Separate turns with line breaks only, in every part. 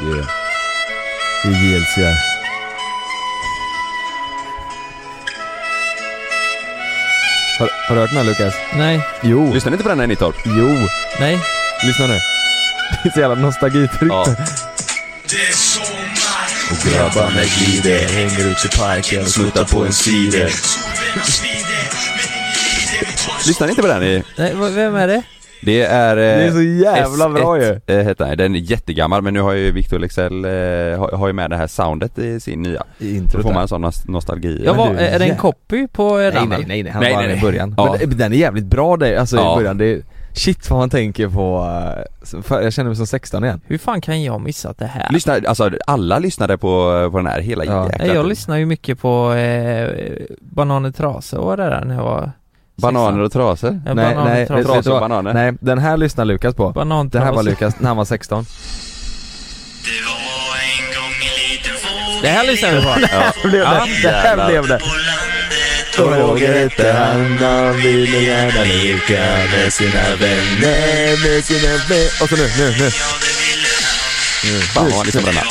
Yeah. I GLCR. Har, har du hört den här Lukas?
Nej,
Jo,
Lyssnar ni inte på den här i Nittorp?
jo.
nej.
Lyssna nu. Det är så jävla nostalgitryck.
Ja.
Grabbarna glider, hänger ut i parken och snuttar på en cider.
Lyssnar ni inte på den? i-
nej v- vem är det?
Det är... Eh,
Det är så jävla bra ju.
Eh, heter den. den är jättegammal men nu har ju Victor Leksell eh, har, har ju med det här soundet i sin nya.
I
Då
introt
får
där.
man en sån nos- nostalgi.
men
Jag var,
du,
är det en
jä-
copy på en
Nej
annan?
nej nej, nej han
Nej,
var
nej,
med
nej.
i början.
Ja.
Men det- den är jävligt bra där, alltså
Ja.
i början. Det är, shit vad man tänker på, eh, fan, jag känner mig som 16 igen.
Hur fan kan jag missa det här?
Lyssna, alltså alla lyssnade på, på den här hela
Ja.
jäkla
Nej, jag
tiden.
lyssnar ju mycket på eh, Bananer Trasa och det där när jag var
Bananer och trasor.
Nej,
Nej,
bananer,
nej,
trasor.
vet- vet du
Trasor och
vad?
bananer.
Nej, den här lyssnar Lukas på.
Banan
Det här var Lukas när han var 16.
Det var en gång en liten fågel
Det här lyssnar vi på.
Ja.
blev
Ja,
det
jävlar.
här blev det!
på landet och
Roger hette
han, han ville gärna leka med sina vänner.
Och så nu, nu, nu.
Fan vad han lyssnar på den här.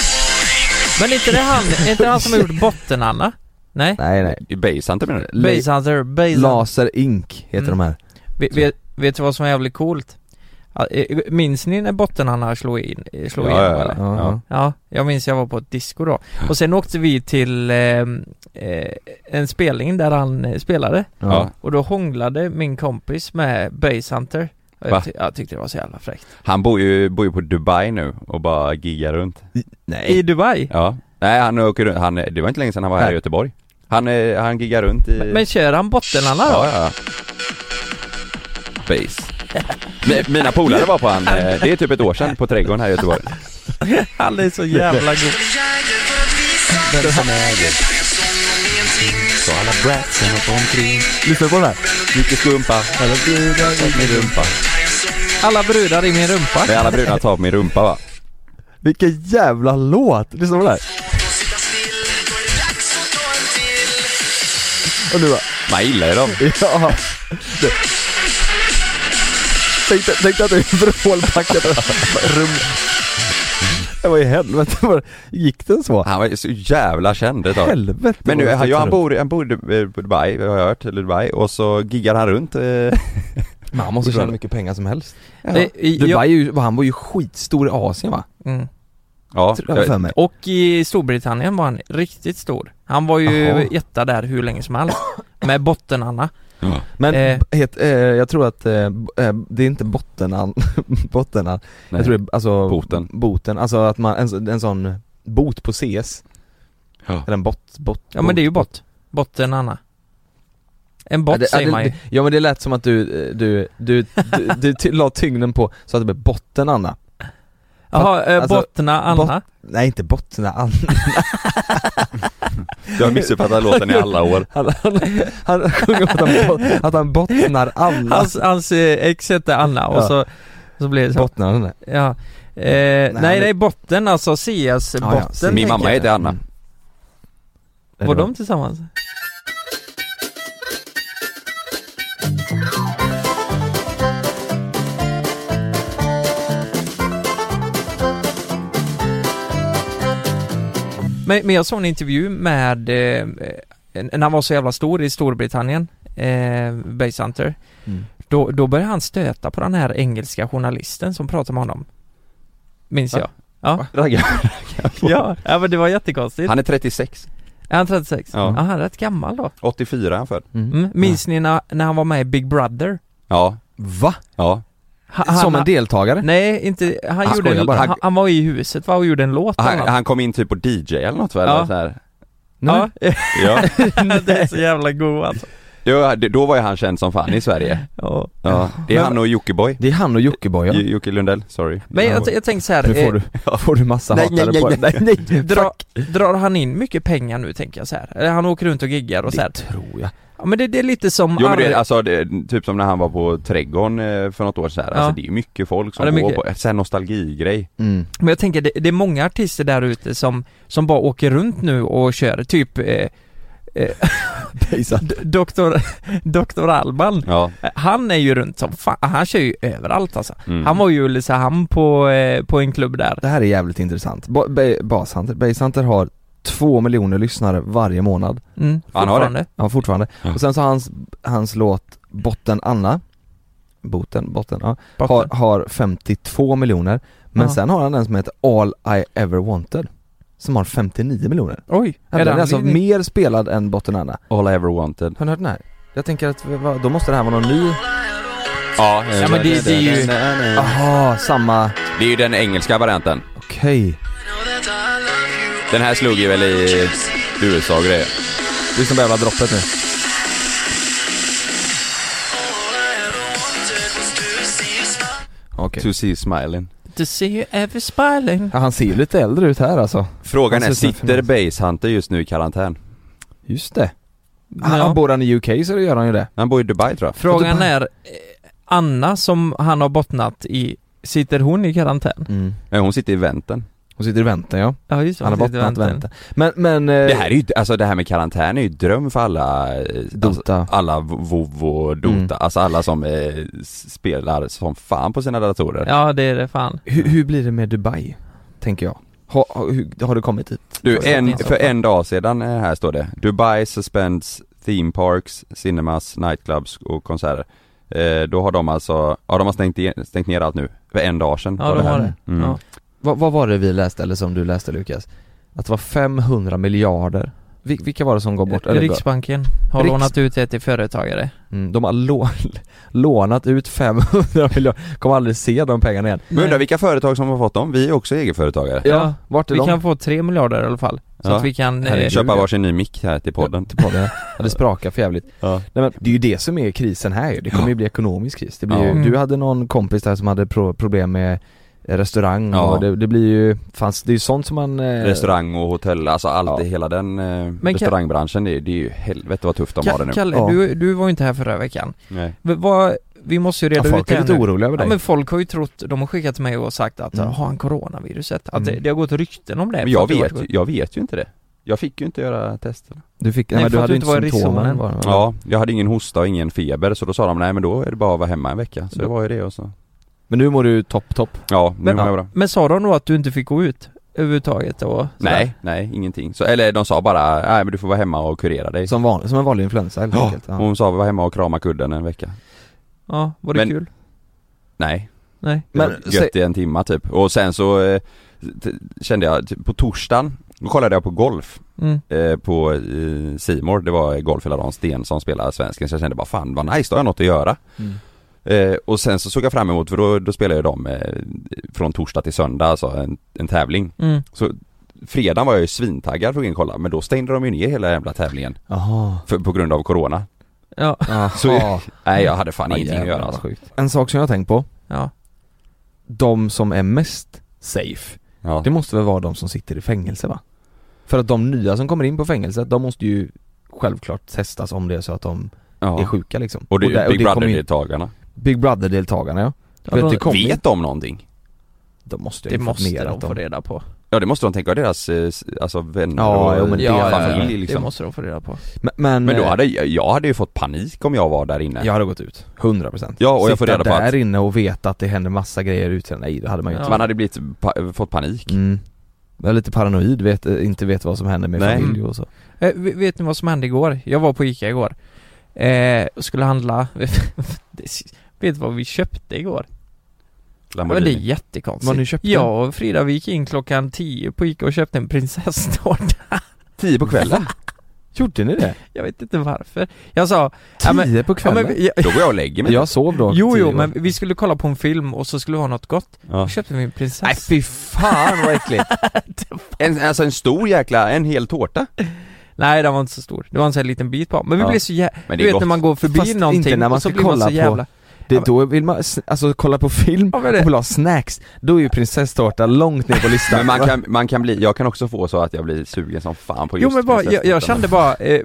Men är inte det han, är inte han som har gjort Botten-Anna? Nej?
Nej nej.
I Basehunter menar du?
Le-
Basehunter, Basehunter.
Laser Ink heter
Mm.
de här.
Vet, vet, vet du vad som är jävligt coolt? Ja, eh, Minns ni när Botten-Anna slog in, eh, slog
Ja,
igenom
ja, ja.
eller?
Ja.
Mm. Ja.
Ja, jag minns jag var på ett disco då. Och sen åkte vi till eh, eh, en spelning där han eh, spelade.
Ja.
Och då hånglade min kompis med Basehunter. Och
Va?
Jag, ty- jag tyckte det var så jävla fräckt.
Han bor ju, bor ju på Dubai nu och bara giggar runt.
I
Nej.
Dubai?
Ja. Nej han åker runt, han, det var inte länge sedan han var här i
Nej.
Göteborg. Han, eh, han giggar runt i...
Men, men kör han Botten-Anna då?
Ja, ja. Base. Mi- Mina polare var på han, eh, det är typ ett år sedan, på Trädgården här i Göteborg.
Han är så jävla god.
Den som äger. Så alla bratsen hoppar omkring.
Lyssnar du på den här?
Mycket skumpa, alla brudar i min rumpa.
Alla brudar i min rumpa.
Nej alla brudar tar på min rumpa va?
Vilken jävla låt! Lyssna på den här. Och nu bara,
Man gillar ju dem.
ja. Du. Tänkte, tänkte att du vrålpackade rum. Det var i helvete vad- Gick den så?
Han var ju så jävla känd ett tag.
Helvete
Men nu,
vad
han,
det
ja, han
runt.
bor, han bor i Dub- på Dubai, har jag hört, eller Dubai, och så giggar han runt. eh,
Men han måste
Förstår
tjäna
du?
hur mycket pengar som helst.
Ja.
Det- Eh, i-
Dubai
jag-
är ju, han var ju skitstor i Asien va?
Mm.
Ja,
Tror jag för mig.
Och i Storbritannien var han riktigt stor. Han var ju
Jaha.
etta där hur länge som helst. Med Botten-Anna.
Men
Eh.
het, eh, jag tror att eh, b- eh, det är inte bottenan, bottenan.
Nej.
Jag tror det är alltså
Boten.
boten, alltså att man, en, så- en sån bot på CS.
Ja.
Eller en bot, bot
Ja men det är ju bott. Botten-Anna. En bott
Ja, det- ja,
säger
det-
man ju.
det- Ja men det lät som att du, eh, du, du, du, du ty- la tyngden på så att det blev botten Anna.
Jaha, eh,
alltså,
Bottna Anna.
Nej inte bottna Anna.
Jag har missuppfattat låten i alla år.
Han, han, han sjunger om att han, bot- att han bottnar Anna.
Hans, hans eh, ex hette Anna och
Ja.
så, så blev det så.
Bottnar Anna.
ja. eh, nej,
men-
nej, botten alltså, CS
ja,
botten
så-
Min
tänker
mamma
jag.
heter Anna.
Mm.
Var de tillsammans? Men, men jag såg en intervju med, eh, eh, när han var så jävla stor i Storbritannien, eh, Basehunter.
Mm.
Då, då började han stöta på den här engelska journalisten som pratade med honom. Minns
Va?
jag. Ja.
Raggar.
ja, ja men det var jättekonstigt.
Han är 36.
Är han 36?
Ja.
Ja. han är rätt gammal då.
84 är han född.
Mm. Minns ni när, när han var med i Big Brother?
Ja,
Va?
ja.
Ha-
Som en
han-
deltagare?
Nej, inte, han,
Han
gjorde
skojar
en,
bara.
han, han var i huset va, och gjorde en låt
Han,
bland annat.
han kom in typ på DJ eller något va?
Ja.
Eller så här.
Ja,
Ja.
det är så jävla god alltså.
Jo, det- då var ju han känd som fan i Sverige.
Ja.
Ja. Det är
Men-
han och Jockiboi.
Det är han och Jockiboi ja.
J- Jocke Lundell, sorry.
Men jag, jag tänker så här,
Nu får
eh,
du, får du massa
Nej,
hatare
nej,
på
nej,
dig. Nej, nej,
dra, drar han in mycket pengar nu tänker jag så här. Eller han åker runt och giggar och så här.
Det tror jag.
Ja men det, det är lite som
Jo men det,
Ar-
alltså det, typ som när han var på Trädgården eh, för något år sedan,
Ja.
alltså det är ju mycket folk som
Ja, det är
går
mycket.
på, sån här nostalgigrej.
Mm.
Men jag tänker det, det är många artister där ute som, som bara åker runt nu och kör typ eh,
Pejsat.
D- Doktor, Doktor Alban,
Ja.
eh, han är ju runt som fan, han kör ju överallt alltså.
Mm.
Han var ju i Ulricehamn på, eh, på en klubb där.
Det här är jävligt intressant. Ba- Ba- Bashunter, Basehunter har två miljoner lyssnare varje månad.
Mm,
Han har det.
fortfarande.
Ja, fortfarande.
Ja.
Och sen så har hans, hans låt Botten Anna, Boten, botten, ja,
Botten.
har, har 52 miljoner. Men
Ja.
sen har han en som heter All I Ever Wanted, som har 59 miljoner.
Oj,
Ja, Den är alltså
anledning?
mer spelad än Botten Anna.
All I ever wanted.
Har ni hört den här? Jag tänker att, vi- va- då måste det här vara någon ny,
Ja,
Ja, men det- det är ju-
aha, samma,
Ah. Det är ju den engelska varianten.
okej.
Den här slog ju väl i USA och grejer.
Det är som det jävla droppet nu. Okej.
To see smiling.
To see you ever smiling.
Ja, han ser ju lite äldre ut här alltså.
Frågan
Han
är,
ser ut som
sitter
en
Basehunter just nu i karantän?
Just det. Han, Typ-
Ja.
han bor han i UK så gör han ju det.
Han bor i Dubai tror jag.
Frågan
Dubai.
är, eh, Anna som han har bottnat i, sitter hon i karantän?
Mm.
Nej, hon sitter i vänten.
Hon sitter i väntan ja.
Ja just det,
Han har
hon sitter i
bottnat
väntan.
väntan. Men, men... eh,
Det här är ju, alltså det här med karantän är ju dröm för alla, eh, alltså,
Dota.
alla Vovo, Dota,
Mm.
alltså alla som eh, s- spelar som fan på sina datorer.
Ja det är det fan.
Hur, hur blir det med Dubai? Tänker jag. Har, har, hur- har det kommit hit?
Du,
Fast det
en,
finns
för
också.
en dag sedan, eh, här står det Dubai suspends theme parks, cinemas, nightclubs och konserter eh, Då har de alltså, ja de har stängt, igen, stängt ner allt nu, för en dag sedan
Ja
var
de
här.
har det.
Mm.
Ja.
Vad, vad var det vi läste, eller som du läste Lukas? Att det var 500 miljarder. Vil, vilka var det som går bort? Eller,
Riksbanken har
Riks-
lånat ut det till företagare.
mm, de har lå, lånat ut 500 miljarder. Kommer aldrig se de pengarna igen.
Men undrar vilka företag som har fått dem? Vi är ju också egenföretagare
Ja,
Ja,
vart är
Eh, Vi
de?
kan få tre miljarder i alla fall. Så
Ja.
att vi kan... Eh,
Herregud.
Köpa varsin ny mick här till podden
Till podden. Ja, det sprakar för jävligt.
Ja,
Nej, men det är ju det som är krisen här ju. Det kommer ju bli ekonomisk kris. Det blir
Ja.
ju,
Mm.
du hade någon kompis där som hade pro- problem med restaurang
Ja.
och det, det blir ju, fanns, det är ju sånt som man... eh,
Restaurang och hotell, alltså allt,
Ja.
hela den eh,
kan-
restaurangbranschen, det, är- det är ju helvete vad tufft de har det nu
Kalle,
Ja.
du, du var ju inte här förra veckan.
Nej.
V- vad, vi måste ju
ja,
reda ut
folk
det
är
här
lite
nu.
oroliga över
Ja,
dig.
men folk har ju trott, de har skickat till mig och sagt att
Mm.
har han coronaviruset? Att det,
Mm.
det har gått rykten om det.
Men
för
jag
att det har
vet,
varit-
ju- jag vet ju inte det Jag fick ju inte göra testerna
Du fick, nej,
Nej,
men du
för att
hade
du
ju
inte
inte
var i riskzonen.
symptomen bara.
Ja, jag hade ingen hosta och ingen feber så då sa de nej men då är det bara att vara hemma en vecka, så det var ju det och så
Men nu mår du topp, topp.
Ja, nu
Men-
mår jag bra
Men sa de då att du inte fick gå ut? Överhuvudtaget och sådär?
Nej, nej ingenting. Så, eller de sa bara, nej men du får vara hemma och kurera dig.
Som, van, som en vanlig influensa helt enkelt.
Och
Ja.
Hon sa, var hemma och krama kudden en vecka.
Ja, var det
Men-
kul?
Nej,
Nej.
det
Men
var gött
säg-
i en timma typ. Och sen så eh, t- kände jag, typ, på torsdagen, då kollade jag på golf
Mm.
eh, på eh, C More. Det var golf hela dagen, Sten som spelar svensken. Så jag kände bara, fan vad nice, då har jag något att göra.
Mm.
Eh, och sen så såg jag fram emot, för då, då spelade jag dem eh, från torsdag till söndag, alltså en, en tävling.
Mm.
Fredagen var jag ju svintaggad för att gå in och kolla, men då stängde de ju ner hela jävla tävlingen.
Jaha.
För, på grund av Corona.
Ja.
Så-
Jaha.
Nej jag hade fan
Ja,
ingenting att
jävlar,
göra
vad
alltså.
sjukt. En sak som jag har tänkt på,
Ja.
de som är mest safe,
Ja.
det måste väl vara de som sitter i fängelse va? För att de nya som kommer in på fängelset, de måste ju självklart testas om det är så att de är
ja.
sjuka liksom.
Och, det,
där-
Big
kommer ju-
Brother-deltagarna.
Big Brother-deltagarna ja.
Ja,
För att
de-
det kommer
Vet de någonting?
De måste
Det
ju
måste
informerat
de få
om.
reda på.
Ja det måste de tänka, deras eh, s- alltså vänner
Ja,
och
jo, men det-
ja, familj
ja,
det
liksom.
måste de få reda på.
Men, men,
Men då
eh,
hade jag, jag hade ju fått panik om jag var där inne.
jag hade gått ut, 100% procent.
Ja, och jag får reda på
där
att-
inne och veta att det händer massa grejer ute, nej det hade man ju
Ja.
inte.
Man hade blivit, pa- fått panik.
Mm. Jag är lite paranoid, vet, eh, inte vet vad som händer med
Nej. Mm.
familj och så.
Eh, v- vet ni vad som hände igår? Jag var på Ica igår. Eh, och skulle handla. Det- vet du vad vi köpte igår? Ja, men det är
Lamborghini.
jättekonstigt.
Vad ni köpte?
Jag och Frida vi gick in klockan 10 på Ica och köpte en prinsesstårta.
Tio på kvällen.
Gjorde ni det?
Jag vet inte varför. Jag sa...
Tio
Ja, men-
på
Ja,
kvällen?
men, vi- ja,
Då går jag och lägger mig.
Jag sov då
jo,
tio
jo,
år.
men vi skulle kolla på en film och så skulle vi ha något gott.
Ja.
Då köpte vi en
Nej
prinsess.
fy fan vad äckligt!
En, alltså en stor jäkla, en hel tårta.
Nej, den var inte så stor. Det var en sån här liten bit på. Men vi
Ja.
blev så jävla...
Men
Du
det
vet
är
när
gott.
man går förbi
Fast
någonting
inte när man
och så
ska
blir man
kolla
så
på-
jävla...
Det, då vill man, alltså kolla på film
Ja, men det-
och vill ha snacks, då är ju prinsesstårta långt ner på listan
Men man kan, man kan bli, jag kan också få så att jag blir sugen som fan på just
Jo men bara, jag, jag
prinsesstårtan.
kände bara, eh,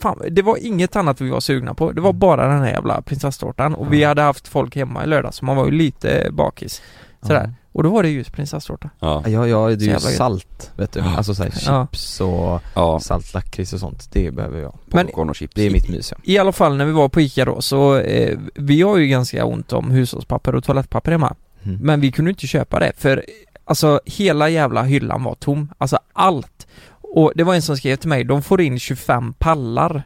fan, det var inget annat vi var sugna på. Det var
Mm.
bara den
Mm.
här jävla prinsesstårtan och vi hade haft folk hemma i lördag så man var ju lite bakis. Sådär. Och då var det just prinsesstårta.
Ja,
Ja, ja det
Så
är ju
jävla gött.
salt vet du,
Ja.
alltså såhär
Ja.
chips och
ja.
salt lakrits och sånt, det behöver jag
Men-
Popcorn och chips.
Det är mitt mys ja.
I alla fall när vi var på ICA då så, eh, vi har ju ganska ont om hushållspapper och toalettpapper hemma.
Mm.
Men vi kunde inte köpa det för eh, alltså hela jävla hyllan var tom. Alltså allt. Och det var en som skrev till mig, de får in 25 pallar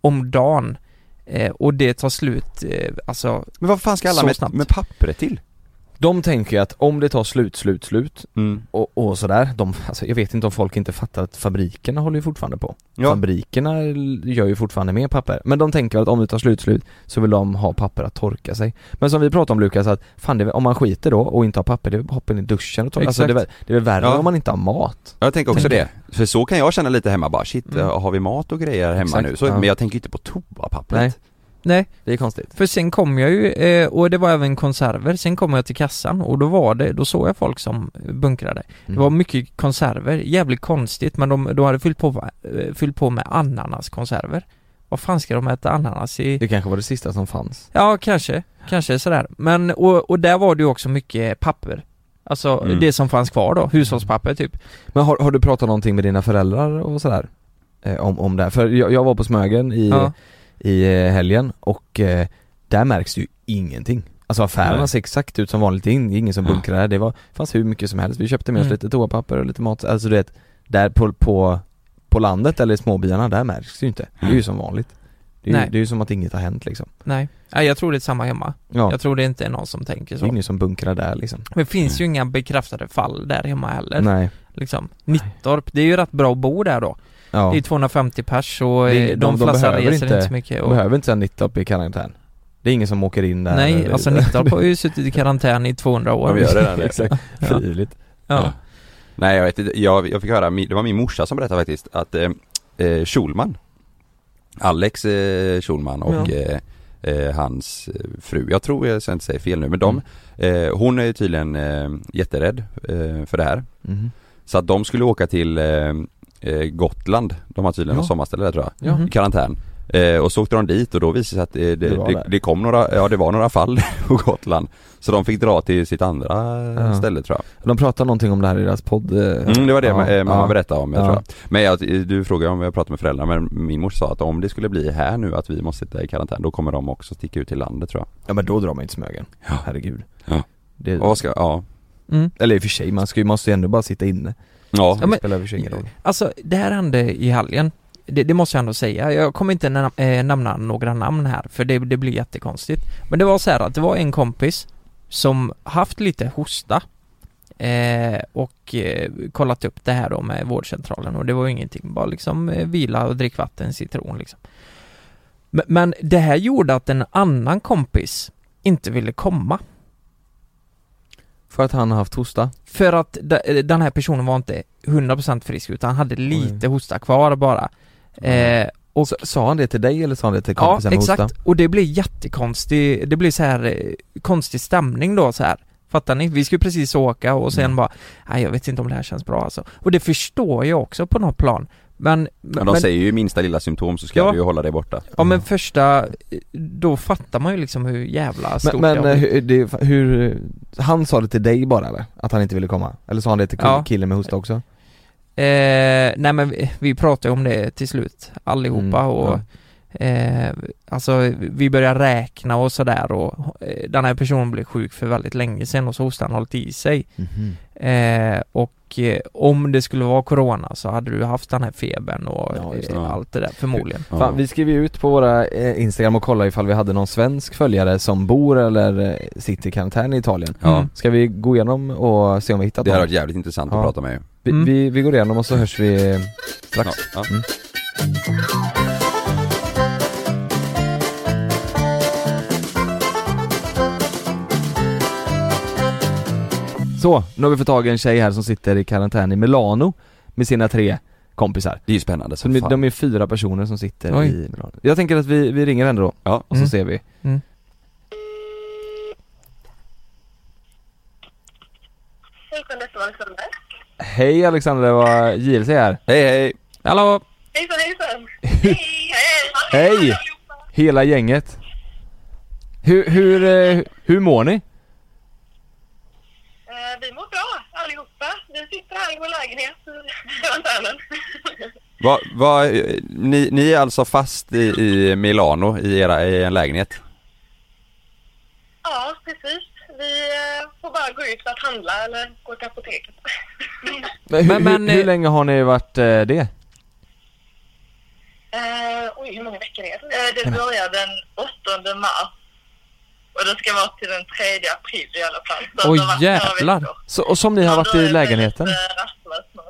om dagen. Eh, och det tar slut, eh, alltså
Men vad fan ska alla
Så
med,
snabbt.
med pappret till?
De tänker ju att om det tar slut, slut, slut
Mm.
och, och sådär, de, alltså jag vet inte om folk inte fattar att fabrikerna håller ju fortfarande på
Ja.
Fabrikerna l- gör ju fortfarande mer papper, men de tänker att om det tar slut, slut så vill de ha papper att torka sig Men som vi pratade om Lukas, att fan det, är väl- om man skiter då och inte har papper, det är väl bara hoppa in i duschen och torka alltså, det, är väl- det är väl värre
Ja.
om man inte har mat?
Jag tänker också
Tänker.
det. För så kan jag känna lite hemma bara, shit,
Mm.
har vi mat och grejer hemma
Exakt,
nu? Så,
ja.
Men jag tänker inte på toapappret.
Nej.
Nej,
Det är konstigt
för sen kom jag ju, eh, och det var även konserver, sen kom jag till kassan och då var det, då såg jag folk som bunkrade.
Mm.
Det var mycket konserver, jävligt konstigt men de, de hade fyllt på, eh, fyllt på med ananaskonserver. Vad fan ska de äta ananas i?
Det kanske var det sista som fanns
Ja, kanske. Kanske sådär. Men, och, och där var det ju också mycket papper. Alltså
Mm.
det som fanns kvar då, hushållspapper typ.
Men har, har du pratat någonting med dina föräldrar och sådär? Eh, om, om det här? För jag, jag var på Smögen i,
Ja.
i eh, helgen och eh, där märks det ju ingenting Alltså affärerna
Nej.
ser exakt ut som vanligt, det är ingen som
Ja.
bunkrar här. det var, fanns hur mycket som helst, vi köpte med oss
Mm.
lite toapapper och lite mat, alltså du vet Där på, på, på landet eller i småbyarna, där märks det ju inte, det är ju som vanligt Det är,
Mm. Nej.
ju, det är ju som att inget har hänt liksom
Nej. Nej, jag tror det är samma hemma.
Ja,
Jag tror det inte är någon som tänker
det är
så.
ingen som bunkrar där liksom
Men det finns ju inga bekräftade fall där hemma heller.
Nej,
Liksom. Nittorp, det är ju rätt bra att bo där då.
ja,
Det är typ- 250 pers och
Det är-
eh,
de-
de,
de
flesta
behöver
reser inte,
inte-
så mycket.
de
Och...
behöver inte säga Nittorp i karantän Det är ingen som åker in där
Nej, alltså Nittorp har ju suttit i karantän i 200 år.
Ja, vi gör redan det.
Exakt, frivilligt
Ja.
Nej jag vet inte, jag, jag fick höra, min- det var min morsa som berättade faktiskt att eh, eh, Schulman Alex eh, Schulman och eh, eh, hans eh, fru, jag tror jag så jag inte säger fel nu men de,
Mm.
eh, hon är tydligen eh, jätterädd eh, för det här
Mhm.
Så att de skulle åka till eh, eh, Gotland, de har tydligen
Ja.
något sommarställe där tror jag,
Ja. Mm.
Mm.
i karantän Eh, och så åkte de dit och då visade det sig att eh,
Det
det,
var
det,
där.
det kom några, ja det var några fall på Gotland Så de fick dra till sitt andra
Ja.
ställe tror jag
De pratar någonting om det här i deras podd eh,
Mm, det var det
ja,
ma- eh, mamma
ja.
berättade om, jag
Ja.
tror jag. Men jag, du frågade om jag pratade med föräldrar, men min mor sa att om det skulle bli här nu att vi måste sitta i karantän, då kommer de också sticka ut till landet tror jag.
Ja men då drar man inte smögen,
Ja.
herregud
Ja.
det,
Och vad ska, ja.
Mm.
Eller i och för sig, man ska ju, måste ju ändå bara sitta inne
Ja.
Det
men-
spelar i och för sig ingen roll
Alltså, det här hände i helgen. Det, det måste jag ändå säga. Jag kommer inte nam- eh, nämna några namn här, för det, det blir jättekonstigt. Men det var så här att det var en kompis som haft lite hosta eh, och eh, kollat upp det här då med vårdcentralen och det var ju ingenting. Bara liksom eh, vila och drick vatten, citron liksom. Men, men det här gjorde att en annan kompis inte ville komma.
För att han har haft hosta?
För att de- den här personen var inte 100% frisk utan han hade lite hosta kvar bara. Eh, och,
S- sa han det till dig eller sa han det till
ja,
kompisen med
exakt.
hosta?
Och det blir jättekonstig, det blir så här eh, konstig stämning då så här. Fattar ni? Vi skulle precis åka och sen
Mm.
bara, nej jag vet inte om det här känns bra alltså. Och det förstår jag också på något plan. Men,
Men
men,
de säger ju minsta lilla symptom så ska
Ja.
du ju hålla dig borta.
ja men
Mm.
första, eh, då fattar man ju liksom hur jävla stort
Men, men
det
eh,
har blivit.
hur, det, hur, han sa det till dig bara eller? Att han inte ville komma? Eller sa han det till
Ja.
killen med hosta också?
eh, Nej men vi, vi pratade om det till slut, allihopa
Mm,
och
ja.
Eh, alltså vi börjar räkna och sådär och eh, den här personen blev sjuk för väldigt länge sedan och så hostan har hållit i sig. Eh, och eh, om det skulle vara corona så hade du haft den här febern och
Ja, just
det.
eh, allt det där förmodligen.
Ja.
Fan, vi skrev ju ut på våra eh, Instagram och kollade ifall vi hade någon svensk följare som bor eller eh, sitter i karantän i Italien
Ja.
Mm.
Ska vi gå igenom och se om vi hittat
Det hade
någon?
varit jävligt intressant
Ja.
att prata med ju.
Vi,
Mm.
vi, vi går igenom och så hörs vi strax
Ja. Ja.
Så, nu har vi fått tag i en tjej här som sitter i karantän i Milano med sina tre kompisar.
Det är ju spännande
Så
som
de,
fan.
de är fyra personer som sitter
Oj.
i Milano. Jag tänker att vi, vi ringer henne då
Ja.
och
Mm.
så ser vi.
Mm.
Hej, Jeanette och Alexander.
Hej Alexandra, det var JLC här.
Hej hej!
Hallå!
Hejsan, hejsan. Hej!
Hej! Hela gänget. Hur, hur, eh, hur mår ni?
Eh, eh, vi mår bra allihopa. Vi sitter här i vår lägenhet i Lanternen.
Va, va, eh, ni, ni är alltså fast i, i Milano i, era, i en lägenhet?
ja, precis. Vi eh, får bara gå ut för att handla eller gå till apoteket.
Men, hur,
Men- men,
hur, hur
eh,
länge har ni varit eh, det?
Eh, oj, hur många veckor är det?
Eh, Det börjar den 8 mars. Och det ska vara till den 3 april i alla fall. Så
Oj,
det har varit några
jävlar.
veckor.
Så, och som ni har
Ja,
varit
då är
i
det
lägenheten?
lite rastlöst nu.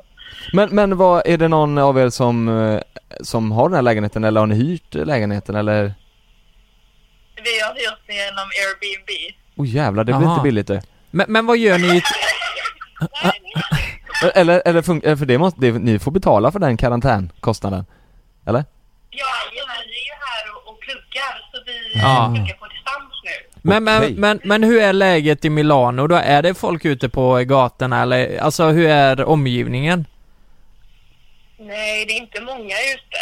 Men, men vad, är det någon av er som, eh, som har den här lägenheten eller har ni hyrt lägenheten eller?
Vi har hyrt den genom Airbnb.
Åh jävlar, det blir
Aha.
inte billigt det.
Men, men vad gör ni i ett...
Eller, eller fun- eh, för det måste, det, ni får betala för den karantänkostnaden. Eller?
Ja, vi är ju här och, och pluggar så vi
Ja.
pluggar på distans nu.
Men, men,
Okej.
men, men hur är läget i Milano då? Är det folk ute på gatorna eller, alltså hur är omgivningen?
Nej, det är inte många ute.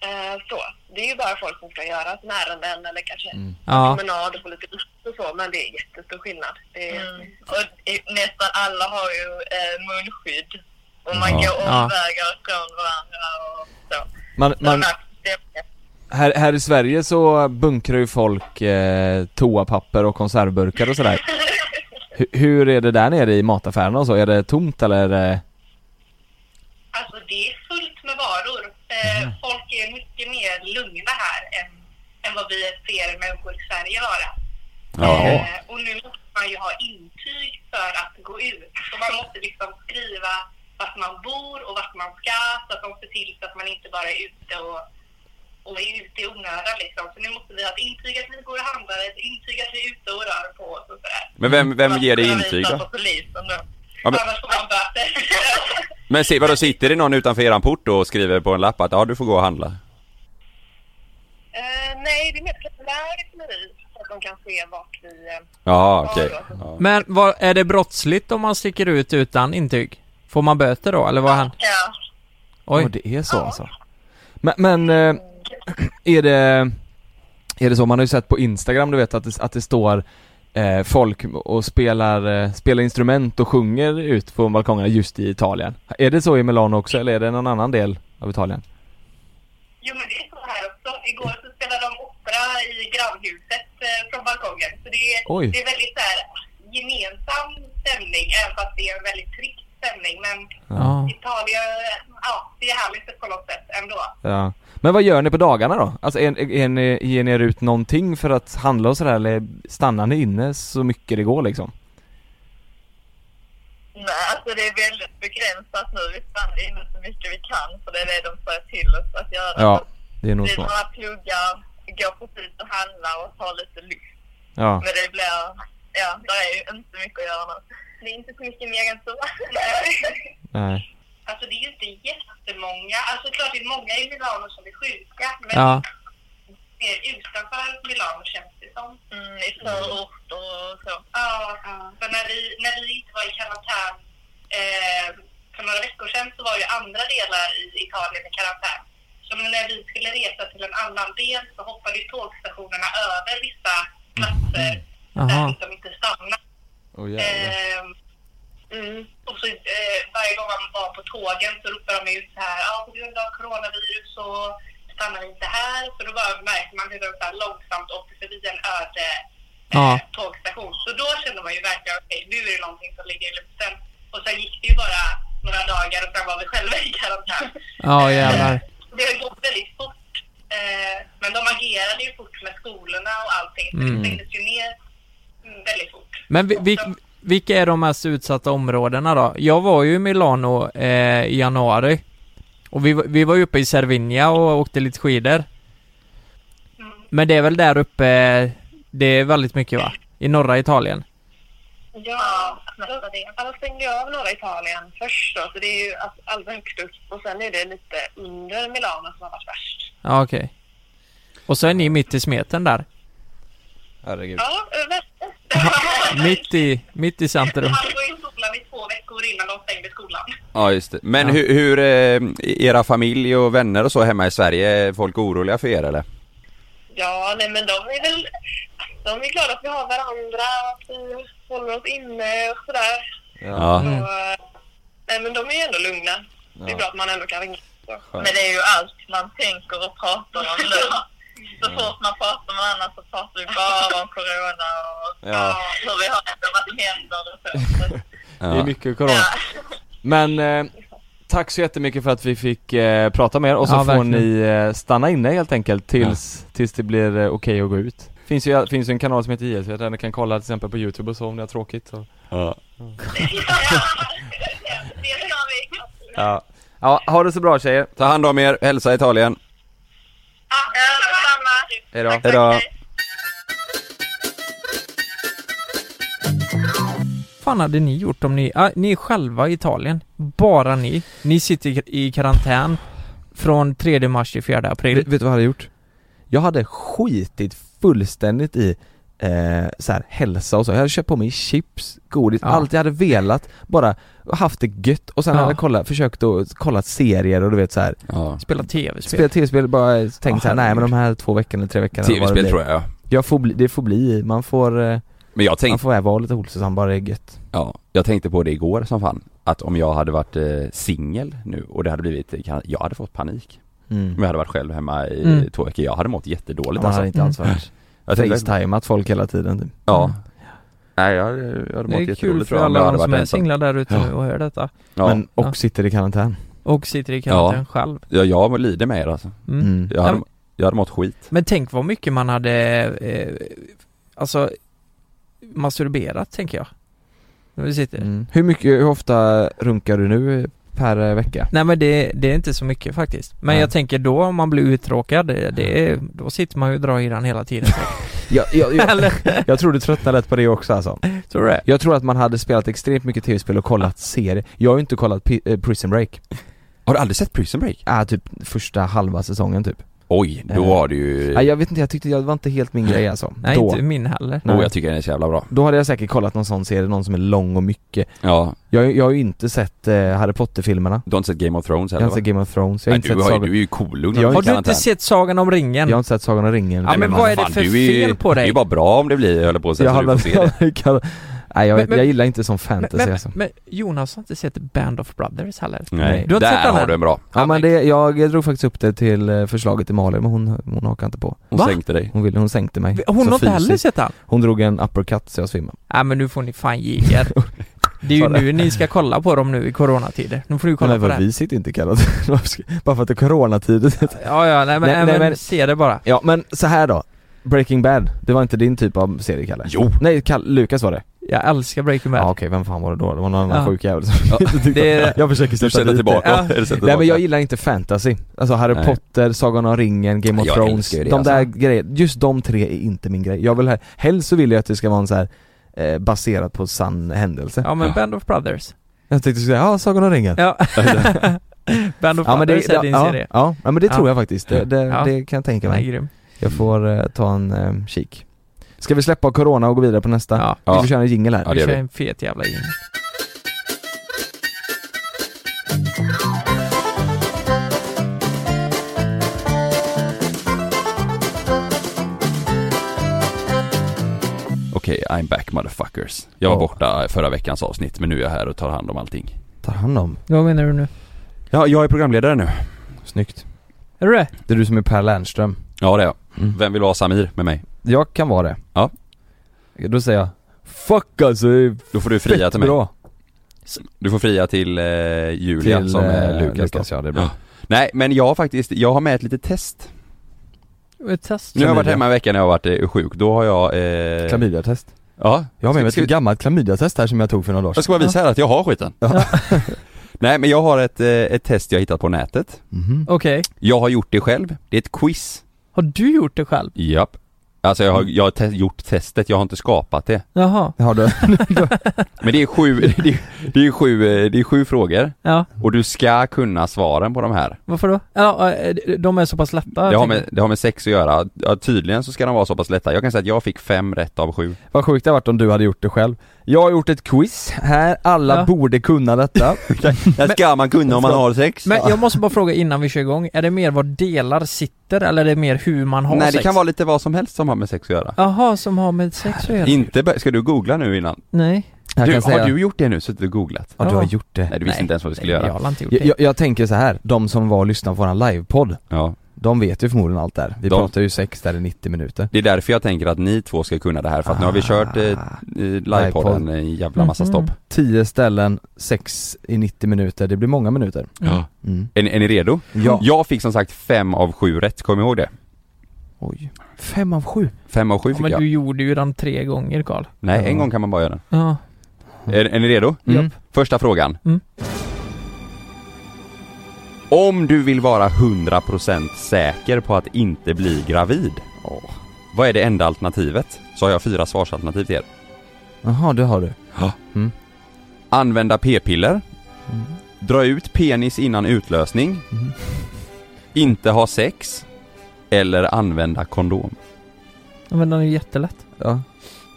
Eh, så. Det är ju bara folk som ska göra sina ärenden eller kanske
Mm. Ja.
promenad och få lite luft och så. Men det är jättestor skillnad. Det är, eh,
Och i- nästan alla har ju eh, munskydd. Och man går omvägar från varandra och så.
Man,
så
man,
man- det-
här, här i Sverige så bunkrar ju folk eh, toapapper och konservburkar och sådär. Hur, hur är det där nere i mataffärerna och så? Är det tomt eller? eh?
Alltså det är fullt med varor. Eh,
Mhm.
Folk är mycket mer lugna här än, än vad vi ser människor i Sverige vara.
Ja.
Eh, och nu måste man ju ha intyg för att gå ut. Så man måste liksom skriva vart man bor och vart man ska så att de ser till så att man inte bara är ute och, och är ute i onödan liksom. Så nu måste vi ha ett intyg att vi går och handlar, ett intyg att vi är ute och rör på oss och sådär.
Men vem, vem ger dig
Man ska
intyg
visa
då?
på polisen då.
Ja, men,
Annars får man böter.
men se, vadå, sitter det någon utanför eran port då och skriver på en lapp att ja, du får gå och handla?
Eh, nej, det är mer preliminärt med vi så att de kan se vart vi... Eh,
Ja, okej. Ja.
Men vad, är det brottsligt om man sticker ut utan intyg? Får man böter då eller vad han?
ja.
Oj.
Oj.
det är så alltså. Men, men eh, är det, är det så, man har ju sett på Instagram du vet att det, att det står eh, folk och spelar, eh, spelar instrument och sjunger ut på balkongerna just i Italien. Är det så i Milano också eller är det någon annan del av Italien?
Jo, men det är så här också. Igår så spelade de opera i grannhuset eh, från balkongen. Så det är,
Oj.
det är väldigt så här, gemensam stämning, även fast det är en väldigt tryckt stämning. Men
Ja.
Italien, ja, det är härligt på något sätt ändå.
Ja. Men vad gör ni på dagarna då? Alltså är, är ni, ger ni er ut någonting för att handla och sådär eller stannar ni inne så mycket det går liksom?
Nej, alltså det är väldigt begränsat nu. Vi stannar inne så mycket vi kan för det är det de säger till oss att göra.
Ja, det är nog
Vi
så.
bara pluggar, går precis och handlar och tar lite luft.
Ja.
Men det blir, ja, det är ju inte mycket att göra nu.
Det är inte så mycket mer än så.
Nej.
alltså, det är ju inte jättemånga. Alltså, klart det är många i Milano som är sjuka, men
Ja.
mer utanför Milano känns det som.
Mm, I förort och så.
Ja, för när vi, när vi inte var i karantän eh, för några veckor sedan så var ju andra delar i Italien i karantän. Så när vi skulle resa till en annan del så hoppade ju tågstationerna över vissa platser
Aha.
där de inte stannade.
Oh,
Eh, mm. Och så eh, varje gång man var på tågen så ropade de ut så här, ja på grund av coronavirus så stannar vi inte här. Så då bara märkte man hur de så här långsamt åkte förbi en öde
Ja.
eh, tågstation. Så då kände man ju verkligen, okej nu är det någonting som ligger i luften. Och sen gick det ju bara några dagar och sen var vi själva i karantän. Ehm,
Ja jävlar.
Så Det har ju gått väldigt fort. Eh, men de agerade ju fort med skolorna och allting. Så
Mm.
det stängdes ju ner mm, väldigt fort.
Men vi, vi, vilka är de mest utsatta områdena då? Jag var ju i Milano eh, i januari. Och vi, var- vi var ju uppe i Cervinia och åkte lite skidor. Men det är väl där uppe, det är väldigt mycket va? I norra Italien?
Ja, alltså, alla stängde ju av norra Italien först då, så det är ju alltså, allra högst upp och sen är det lite under Milano som har varit värst.
Ja okej. Och så är ni mitt i smeten där.
Herregud.
Ja, värst.
Mitt i, mitt i centrum.
Han var i skolan i två veckor innan de stängde skolan.
ja, just det. Men
Ja.
hur, hur eh, era familj och vänner och så hemma i Sverige, är folk oroliga för er eller?
Ja, nej men de är väl... De är glada att vi har varandra och att vi håller oss inne och sådär.
Ja.
Mm.
Mm.
Så, eh, nej, men de är ju ändå lugna. Det är bra att man ändå kan ringa. Så.
Skönt.
Men det är ju allt man tänker och pratar om nu. Så fort man pratar med andra så pratar vi bara om corona och
Ja.
hur vi har det och vad som händer och så. så.
Det är
Ja.
mycket corona.
Ja.
Men eh, tack så jättemycket för att vi fick eh, prata med er och så
Ja,
får
verkligen.
ni eh, stanna inne helt enkelt tills, tills det blir eh, okej att gå ut. Finns ju, finns ju en kanal som heter JLC där ni kan kolla till exempel på Youtube och så om ni har tråkigt. Så.
Ja.
Det är bra vi.
Ja. ja, ha det så bra tjejer.
Ta hand om er, hälsa Italien.
Ja, detsamma.
Hejdå.
Tack, tack,
Hejdå.
hej.
fan hade ni gjort om ni, ah, ni är själva i Italien, bara ni, ni sitter i- i karantän från 3 mars till 4 april.
Vet vet du vad jag hade gjort? Jag hade skitit fullständigt i eh, så här, hälsa och så. Jag hade köpt på mig chips, godis,
Ja.
allt jag hade velat. Bara haft det gött och sen
Ja.
hade jag kollat, försökt att kolla serier och du vet så här.
Ja.
Spela tv-spel.
Spela tv-spel, bara tänkt
Ja,
så här, nej men
herregud.
de här två veckorna, tre veckorna eller vad det
Tv-spel
blir.
tror jag.
jag får bli, Det får bli, man får, eh,
Men jag
man
tänkte,
får vara lite holsam bara det är gött.
ja, jag tänkte på det igår som fan. Att om jag hade varit eh, singel nu och det hade blivit, eh, kan- jag hade fått panik. Om
Mm.
jag hade varit själv hemma i
Mm.
två veckor, jag hade mått jättedåligt
Man hade
alltså.
inte alls varit
Jag tänkte,
facetimat folk hela tiden typ.
ja. Nej jag hade, jag hade mått
Det är kul
jättedåligt
för
tror jag om jag
alla
hade
de som
varit
är
ensam.
singlar där ute nu
Ja.
och hör detta.
Ja,
Men, och
Ja.
sitter i karantän.
Och sitter i karantän själv.
jag, jag lider med er alltså.
Mm.
Mm.
Jag
Ja,
hade,
men-
jag hade mått skit.
Men tänk vad mycket man hade, eh, alltså, masturberat tänker jag. När vi sitter.
Mm. Hur mycket, hur ofta runkar du nu per eh, vecka?
Nej men det, det är inte så mycket faktiskt. Men
Nej. Mm.
jag tänker då om man blir uttråkad, det, det, är- då sitter man ju och drar i den hela tiden.
Jag, jag, jag,
Eller?
jag tror du tröttnar lätt på det också alltså.
Tror du det?
Jag tror att man hade spelat extremt mycket tv-spel och kollat serier. Jag har ju inte kollat Pi- eh, Prison Break.
Har du aldrig sett Prison Break?
Äh, typ första halva säsongen typ.
Oj, då
Eh.
var det ju...
Äh, jag vet inte, jag tyckte jag det var inte helt min grej alltså.
typ. Nej
då.
inte min heller.
Åh,
Nej.
jag tycker den är så jävla bra.
Då hade jag säkert kollat någon sån serie, någon som är lång och mycket.
Ja,
Jag, jag har ju inte sett eh, Harry Potter-filmerna.
du har inte sett Game of Thrones
Jag
heller
har
va?
inte sett Game of Thrones, jag har
Nej,
inte
du, har,
sett
ju-
Sagan,
du är ju cool
Jag har
Har du inte sett Sagan om ringen?
jag har inte sett Sagan om ringen. Alltså,
Ja, men vad är Alltså, det för fel på dig?
Det är bara bra om det blir, jag höll på att säga,
jag
så du
hade
får se det.
Nej
Men-
jag, vet-
men-
jag gillar inte sån
men,
fantasy
men,
alltså.
men Jonas har inte sett Band of Brothers heller?
Nej,
Du har inte
där
sett den
har
än?
du en bra.
Ja men det, jag drog faktiskt upp det till eh, förslaget till Malin men hon, hon hakade inte på.
Hon
Va?
sänkte dig.
Hon, ville, hon sänkte mig.
Hon
Så
har inte heller
fysiskt.
sett den?
Hon drog en uppercut så jag svimmade.
Nej men nu får ni fan ge er. Det är ju nu ni ska kolla på dem nu i coronatider. Nu får ni kolla
men
på
vad
det.
vi sitter inte i karantän. Varför ska- Bara för att det är coronatider.
Ja, ja, nej men,
Nej,
nej,
nej,
men
men-
se det bara.
ja men så här då. Breaking Bad, det var inte din typ av serie Kalle?
Jo.
Nej, Kall- Lukas var det.
Jag älskar Breaking Bad.
Ja okej, vem fan var det då? Det var någon annan
Ja.
sjuk jävel som inte tyckte
det är-
om- Jag försöker
Du
sätta
sätter
dit
tillbaka.
det.
Ja.
Eller sätter
Nej men jag
tillbaka.
gillar inte fantasy. Alltså Harry
Nej.
Potter, Sagan om ringen, Game of
Jag
Thrones.
älskar ju det,
de
alltså.
där grejerna, just de tre är inte min grej. Jag vill, ha- helst så vill jag att det ska vara en så här eh, baserat på sann händelse.
Ja men Band of Brothers.
Jag tänkte säga, ja Sagan om ringen.
Ja. Band of Brothers är din
ja,
serie.
Ja, ja, men det
Ja.
tror jag faktiskt. Det, det,
Ja.
det kan jag tänka
Den är
mig.
grym.
Jag får eh, ta en eh, kik. Ska vi släppa corona och gå vidare på nästa?
Ja.
Vi får
Ja.
köra en jingel här.
Ja, det
Vi
gör
kör
vi.
en fet jävla in.
Okej, I'm back motherfuckers. Jag var
Ja.
borta förra veckans avsnitt, men nu är jag här och tar hand om allting.
Tar hand om.
Vad menar du nu?
Ja, jag är programledare nu.
Snyggt.
Är du det?
Det är du som är Per Lernström.
Ja, det är jag.
Mm.
Vem vill vara Samir med mig?
Jag kan vara det.
Ja.
Då säger jag, fuck alltså, det är
Då får du fria
fett
till mig.
bra.
Du får fria till eh, Julia som är
eh,
Lukas, då.
ja det är bra.
Nej, men jag har faktiskt, jag har med ett litet test.
Ett test?
Nu har jag varit
Klamydia.
hemma en vecka när jag har varit eh, sjuk. Då har jag... Eh,
Klamydiatest.
Ja.
Jag har med mig
Ska-
ett
ska-
gammalt klamydiatest här som jag tog för några dagar
Jag ska bara visa här att jag har skiten. Nej, men jag har ett, eh, ett test jag hittat på nätet.
Mhm.
Okej.
Jag har gjort det själv. Det är ett quiz.
Har du gjort det själv?
Japp. Alltså jag har, jag har te- gjort testet, jag har inte skapat det.
Jaha.
Har du?
Men det är sju, det är, det är sju, eh, det är sju frågor.
Ja,
Och du ska kunna svaren på de här.
varför då? Ja, eh, de är så pass lätta. jag
Det har
tänker.
med, det har med sex att göra. Ja, tydligen så ska de vara så pass lätta. Jag kan säga att jag fick fem rätt av sju.
Vad sjukt det hade varit om du hade gjort det själv. Jag har gjort ett quiz här, alla
Ja.
borde kunna detta.
Det ska man kunna om man har sex.
Men jag måste bara fråga innan vi kör igång, är det mer vad delar sitter eller är det mer hur man har
Nej,
sex?
det kan vara lite vad som helst som har med sex att göra.
Jaha, som har med sex att göra?
Inte, bör- ska du googla nu innan?
Nej.
Jag
Du,
kan säga,
har du gjort det nu? Suttit och googlat?
ja, du har gjort det.
Nej du visste inte ens vad du skulle göra?
Jag har inte gjort
Jag,
det.
jag, jag tänker så här, de som var och lyssnade på våran livepodd,
Ja.
de vet ju förmodligen allt där. Vi
De-
pratar ju sex där i 90 minuter.
Det är därför jag tänker att ni två ska kunna det här för att nu har vi kört eh, eh, livepodden en jävla massa
Mhm.
stopp.
10 ställen, sex i 90 minuter, det blir många minuter.
Ja.
Mm.
Är, ni- är ni redo?
Ja.
Jag fick som sagt fem av sju rätt, kom ihåg det?
Oj. Fem av sju.
Fem av sju
Ja,
fick
men
jag.
du gjorde ju den tre gånger Karl.
Nej, en
Ja.
gång kan man bara göra den.
Ja.
Är, är ni redo?
Mm.
Första frågan.
Mm.
Om du vill vara 100% säker på att inte bli gravid, vad är det enda alternativet? Så har jag fyra svarsalternativ till er.
Jaha, det har du.
Använda p-piller.
Mm.
Dra ut penis innan utlösning. Inte ha sex. Eller använda kondom.
Ja, Men den är ju jättelätt.
Ja.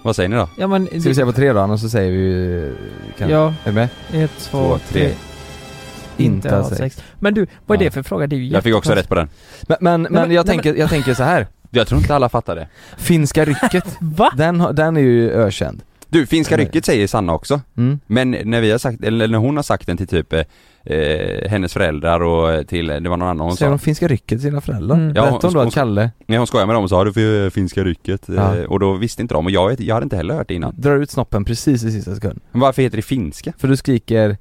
Vad säger ni då?
Ja men...
Ska vi säga på tre då, annars så säger vi ju... Kan...
Ja,
Är du med?
ett, två,
Två, tre.
tre. Inte ha sex. Men du, vad är
Ja.
det för fråga? Det är ju
Jag fick också rätt
jättekonstigt.
på den.
Men, men, men,
men-
jag,
nej,
tänker, jag tänker så här.
Jag tror inte alla fattar det.
Finska rycket,
Va?
den, har- den är ju ökänd.
Du, Finska rycket säger Sanna också.
Mm.
Men när vi har sagt, eller när hon har sagt den till typ eh, eh, hennes föräldrar och till, det var någon annan hon
Säger
sa,
de finska rycket till sina föräldrar?
Mm.
Ja,
Berätta om då
hon-
att Kalle
när hon skojade med dem och sa du får ju finska rycket
Ja.
eh, och då visste inte de och jag, vet- jag hade inte heller hört det innan.
drar ut snoppen precis i sista sekund.
Men varför heter det finska?
För du skriker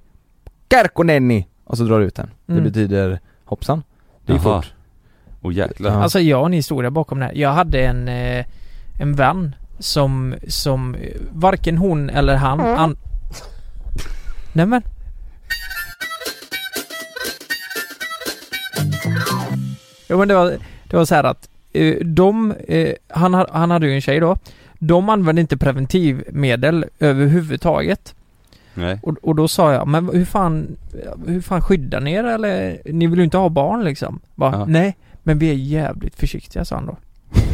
'Karkonenni' och så drar du ut den.
Mm.
Det betyder hoppsan. Det gick
Jaha.
fort.
Åh jäklar.
Ja.
Alltså jag har en historia bakom det här. Jag hade en, eh, en vän som, som eh, varken hon eller han an... Nämen. Jo men det var, det var så här att eh, de, eh, han, ha- han hade ju en tjej då. De använde inte preventivmedel överhuvudtaget.
Nej.
Och, och då sa jag, men hur fan, hur fan skyddar ni er eller? Ni vill ju inte ha barn liksom? Bara,
Ja.
Nej, men vi är jävligt försiktiga sa han då.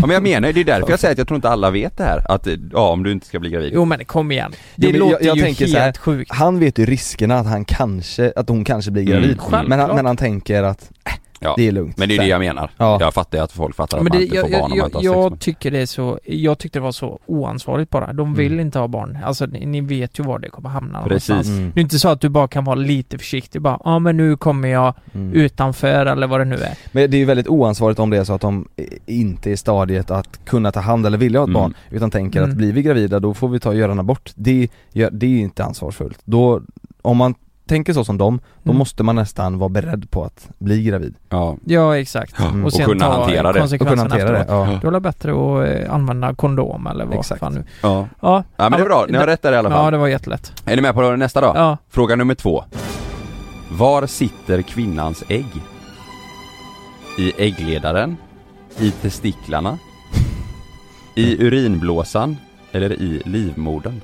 Ja, men jag menar ju, det är därför jag säger att jag tror inte alla vet det här. Att, eh, ja om du inte ska bli gravid.
Jo men kom igen. Det
Jo, men jag-
låter
jag
ju
tänker
helt
så här-
sjukt.
"Ah,
Han vet ju riskerna att han kanske, att hon kanske blir gravid.
Mm, Självklart.
Men, han, men han tänker att äh,
Ja.
det är lugnt.
Men det är det jag menar.
Ja.
Jag fattar ju att folk fattar att
Men
man
det,
inte får
jag,
barn om
jag,
man inte
jag,
har sex.
tycker det är så, jag tyckte det var så oansvarigt bara. De vill inte ha barn. Alltså ni, ni vet ju var det kommer hamna
Mm. Precis.
någonstans.
Mm.
Det är inte så att du bara kan vara lite försiktig bara, ja ah, men nu kommer jag
Mm.
utanför eller vad det nu är.
Men det är ju väldigt oansvarigt om det är så att de eh, inte är i stadiet att kunna ta hand eller vilja ha ett
Mm.
barn utan tänker
Mm.
att blir vi gravida då får vi ta och göra en abort. Det, gör- det är ju inte ansvarsfullt. Då, om man tänker så som dem, då
Mm.
måste man nästan vara beredd på att bli gravid.
Ja.
Ja exakt.
Ja,
Mm.
Och, kunna hantera det.
Och kunna
konsekvenserna
hantera det.
efteråt.
Ja.
Då är det bättre att eh, använda kondom eller vad
Exakt.
fan nu.
Ja.
Ja,
ja men det är bra, ni har rätt där i alla
ja
fall.
det var jättelätt.
Är ni med på nästa då?
Ja.
Fråga nummer två. Var sitter kvinnans ägg? I äggledaren? I testiklarna? I urinblåsan? Eller i livmodern?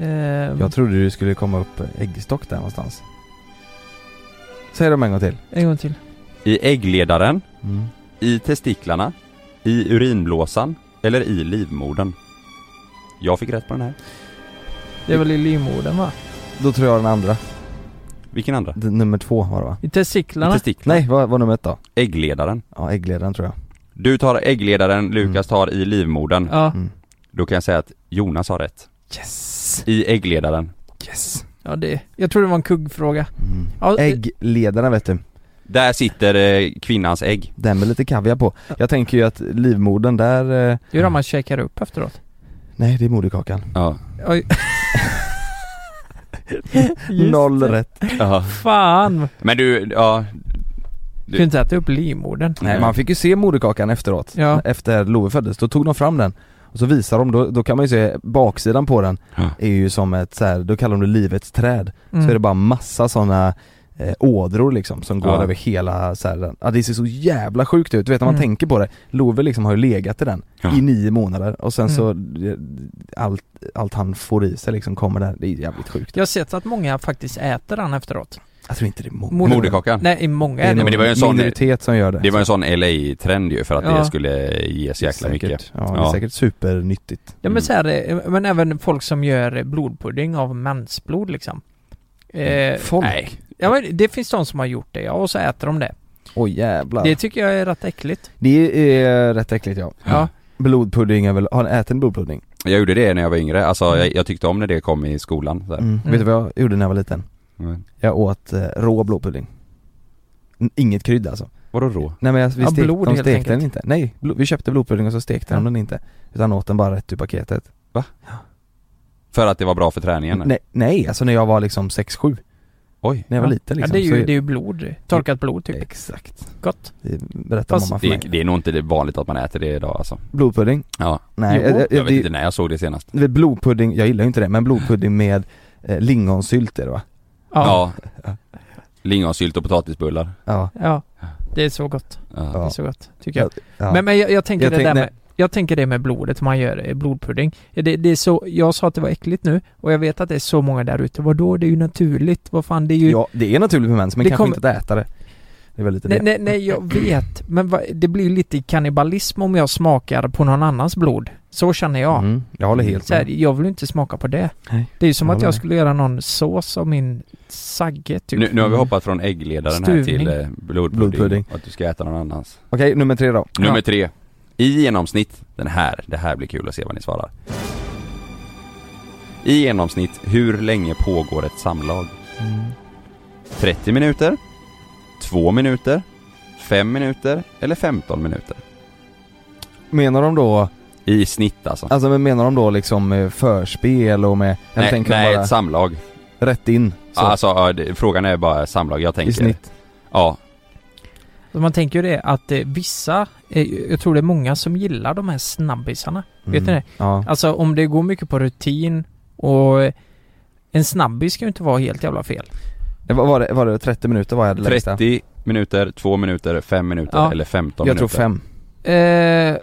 Ehm,
Jag trodde du skulle komma upp äggstock där någonstans. Säg dem en gång till.
En gång till.
I äggledaren?
Mm.
I testiklarna? I urinblåsan? Eller i livmodern? Jag fick rätt på den här.
Det är väl i livmodern va?
Då tror jag den andra.
Vilken andra?
D- nummer två var det va?
I
I
testiklarna?
testiklarna?
Nej, vad var nummer ett då?
Äggledaren.
Ja, äggledaren tror jag.
Du tar äggledaren, Lukas
Mm.
tar i livmodern.
Ja.
Mm.
Då kan jag säga att Jonas har rätt.
Yes!
I äggledaren.
Yes!
ja, det. Jag tror det var en kuggfråga. Ja, eh,
Äggledaren Mm. vet du.
Där sitter eh, kvinnans ägg.
Den med lite kaviar på. Jag tänker ju att livmodern där... eh,
Det är det man käkar upp efteråt.
Nej, det är moderkakan.
Ja.
Oj. Just
Noll
det.
rätt.
Fan!
Men du, ja,
Du kunde inte äta upp livmodern.
Nej, man fick ju se moderkakan efteråt.
Ja.
Efter Love föddes. Då tog de fram den. Och så visar de, då, då kan man ju se baksidan på den
Ja.
är ju som ett så här, då kallar de det livets träd.
Mm.
Så är det bara massa sådana eh, ådror liksom som går
Ja.
över hela så här, den- ja det ser så jävla sjukt ut. Du vet när man
Mm.
tänker på det, Love liksom har ju legat i den
Ja. Mm.
i nio månader och sen så eh, allt, allt han får i sig liksom kommer där. Det är jävligt sjukt.
Jag har sett att många faktiskt äter den efteråt.
Jag tror inte det är många.
Moder-
moderkakan.
Nej, i många
Det är
är det.
nog
men det var ju en sån-
minoritet som gör det.
Det var en sån LA-trend ju för att
Ja.
det skulle ges jäkla
säkert,
mycket.
Ja, det är
Ja.
säkert supernyttigt.
Ja men så här, eh, men även folk som gör eh, blodpudding av mensblod liksom. Eh,
Folk.
Nej.
ja men det finns de som har gjort det ja, och så äter de det.
Oj jävlar.
Det
Det,
tycker jag är rätt äckligt.
är eh, rätt äckligt ja.
Ja.
Blodpudding är väl, har ni ätit en blodpudding?
Jag gjorde det när jag var yngre, alltså jag, jag tyckte om när det kom i skolan så här.
Mm. Vet du vad jag gjorde när jag var liten?
Mm.
Jag åt eh, rå blodpudding N- Inget krydda alltså
Vadå rå?
Nej men jag, vi
Ja,
stekte,
blod
de
helt
stekte den
enkelt.
inte, nej blo- vi köpte blodpudding och så stekte de
Ja.
den inte Utan åt den bara rätt ur paketet
För att det var bra för träningen?
Nej, nej alltså när jag var liksom 6-7
Oj
När jag var
Ja.
liten
Ja,
liksom
det är
så
ju, det är ju blod, torkat blod typ.
Exakt,
Gott.
det berättade
Fast-
mamma för
det,
mig
det är nog inte det vanligt att man äter det idag alltså
Blodpudding?
Ja,
Nej,
Jo,
jag, jag,
jag vet
det,
inte när jag såg det senast
det är blodpudding, jag gillar ju inte det, men blodpudding med eh, lingonsylt är det va?
Ja.
Ja, Lingonsylt och potatisbullar
Ja,
ja. Det är så gott. Det
ja.
är
Ja.
så gott, tycker jag.
ja.
Men, men jag, jag tänker
Jag
det
tänk-
där
nej.
med jag tänker det med blodet, man gör eh, blodpudding. Det, det är så, jag sa att det var äckligt nu och jag vet att det är så många där ute. Vadå, det är ju naturligt. Vad fan, det är ju...
ja, det är naturligt för mens men
Det
kanske
kommer-
inte att äta det Det är väl lite
Nej,
det
nej, nej, jag vet. Men va, det blir lite kannibalism om jag smakar på någon annans blod. Så känner jag.
Mm, jag håller helt
Så här,
med
jag vill inte smaka på det.
Nej.
Det är ju som
Jag
att
håller
jag
med.
skulle göra någon sås av min sagge typ.
nu, nu har vi hoppat från äggledaren här
Stuvning.
till eh, blodpudding,
Blodpudding.
och att du ska äta någon annans
Okej, nummer tre då
Nummer tre. I genomsnitt, den här, det här blir kul att se vad ni svarar. I genomsnitt, hur länge pågår ett samlag?
Mm.
30 minuter? 2 minuter? 5 minuter? Eller 15 minuter?
Menar de då,
I snitt alltså.
alltså men menar de då liksom eh, förspel och med, jag
nej,
tänker
nej
bara
ett samlag.
rätt in så,
Alltså, ja, det, frågan är bara samlag, jag tänker...
i snitt
Ja,
Och Man tänker ju det att eh, vissa, eh, jag tror det är många som gillar de här snabbisarna. Vet ni det?
Mm, Ja,
Alltså om det går mycket på rutin och eh, en snabbis kan ju inte vara helt jävla fel.
det var, var, det, var det 30 minuter var jag hade längsta?
30 minuter, 2 minuter, 5 minuter
Ja.
eller 15
Jag tror
minuter.
fem,
Eh,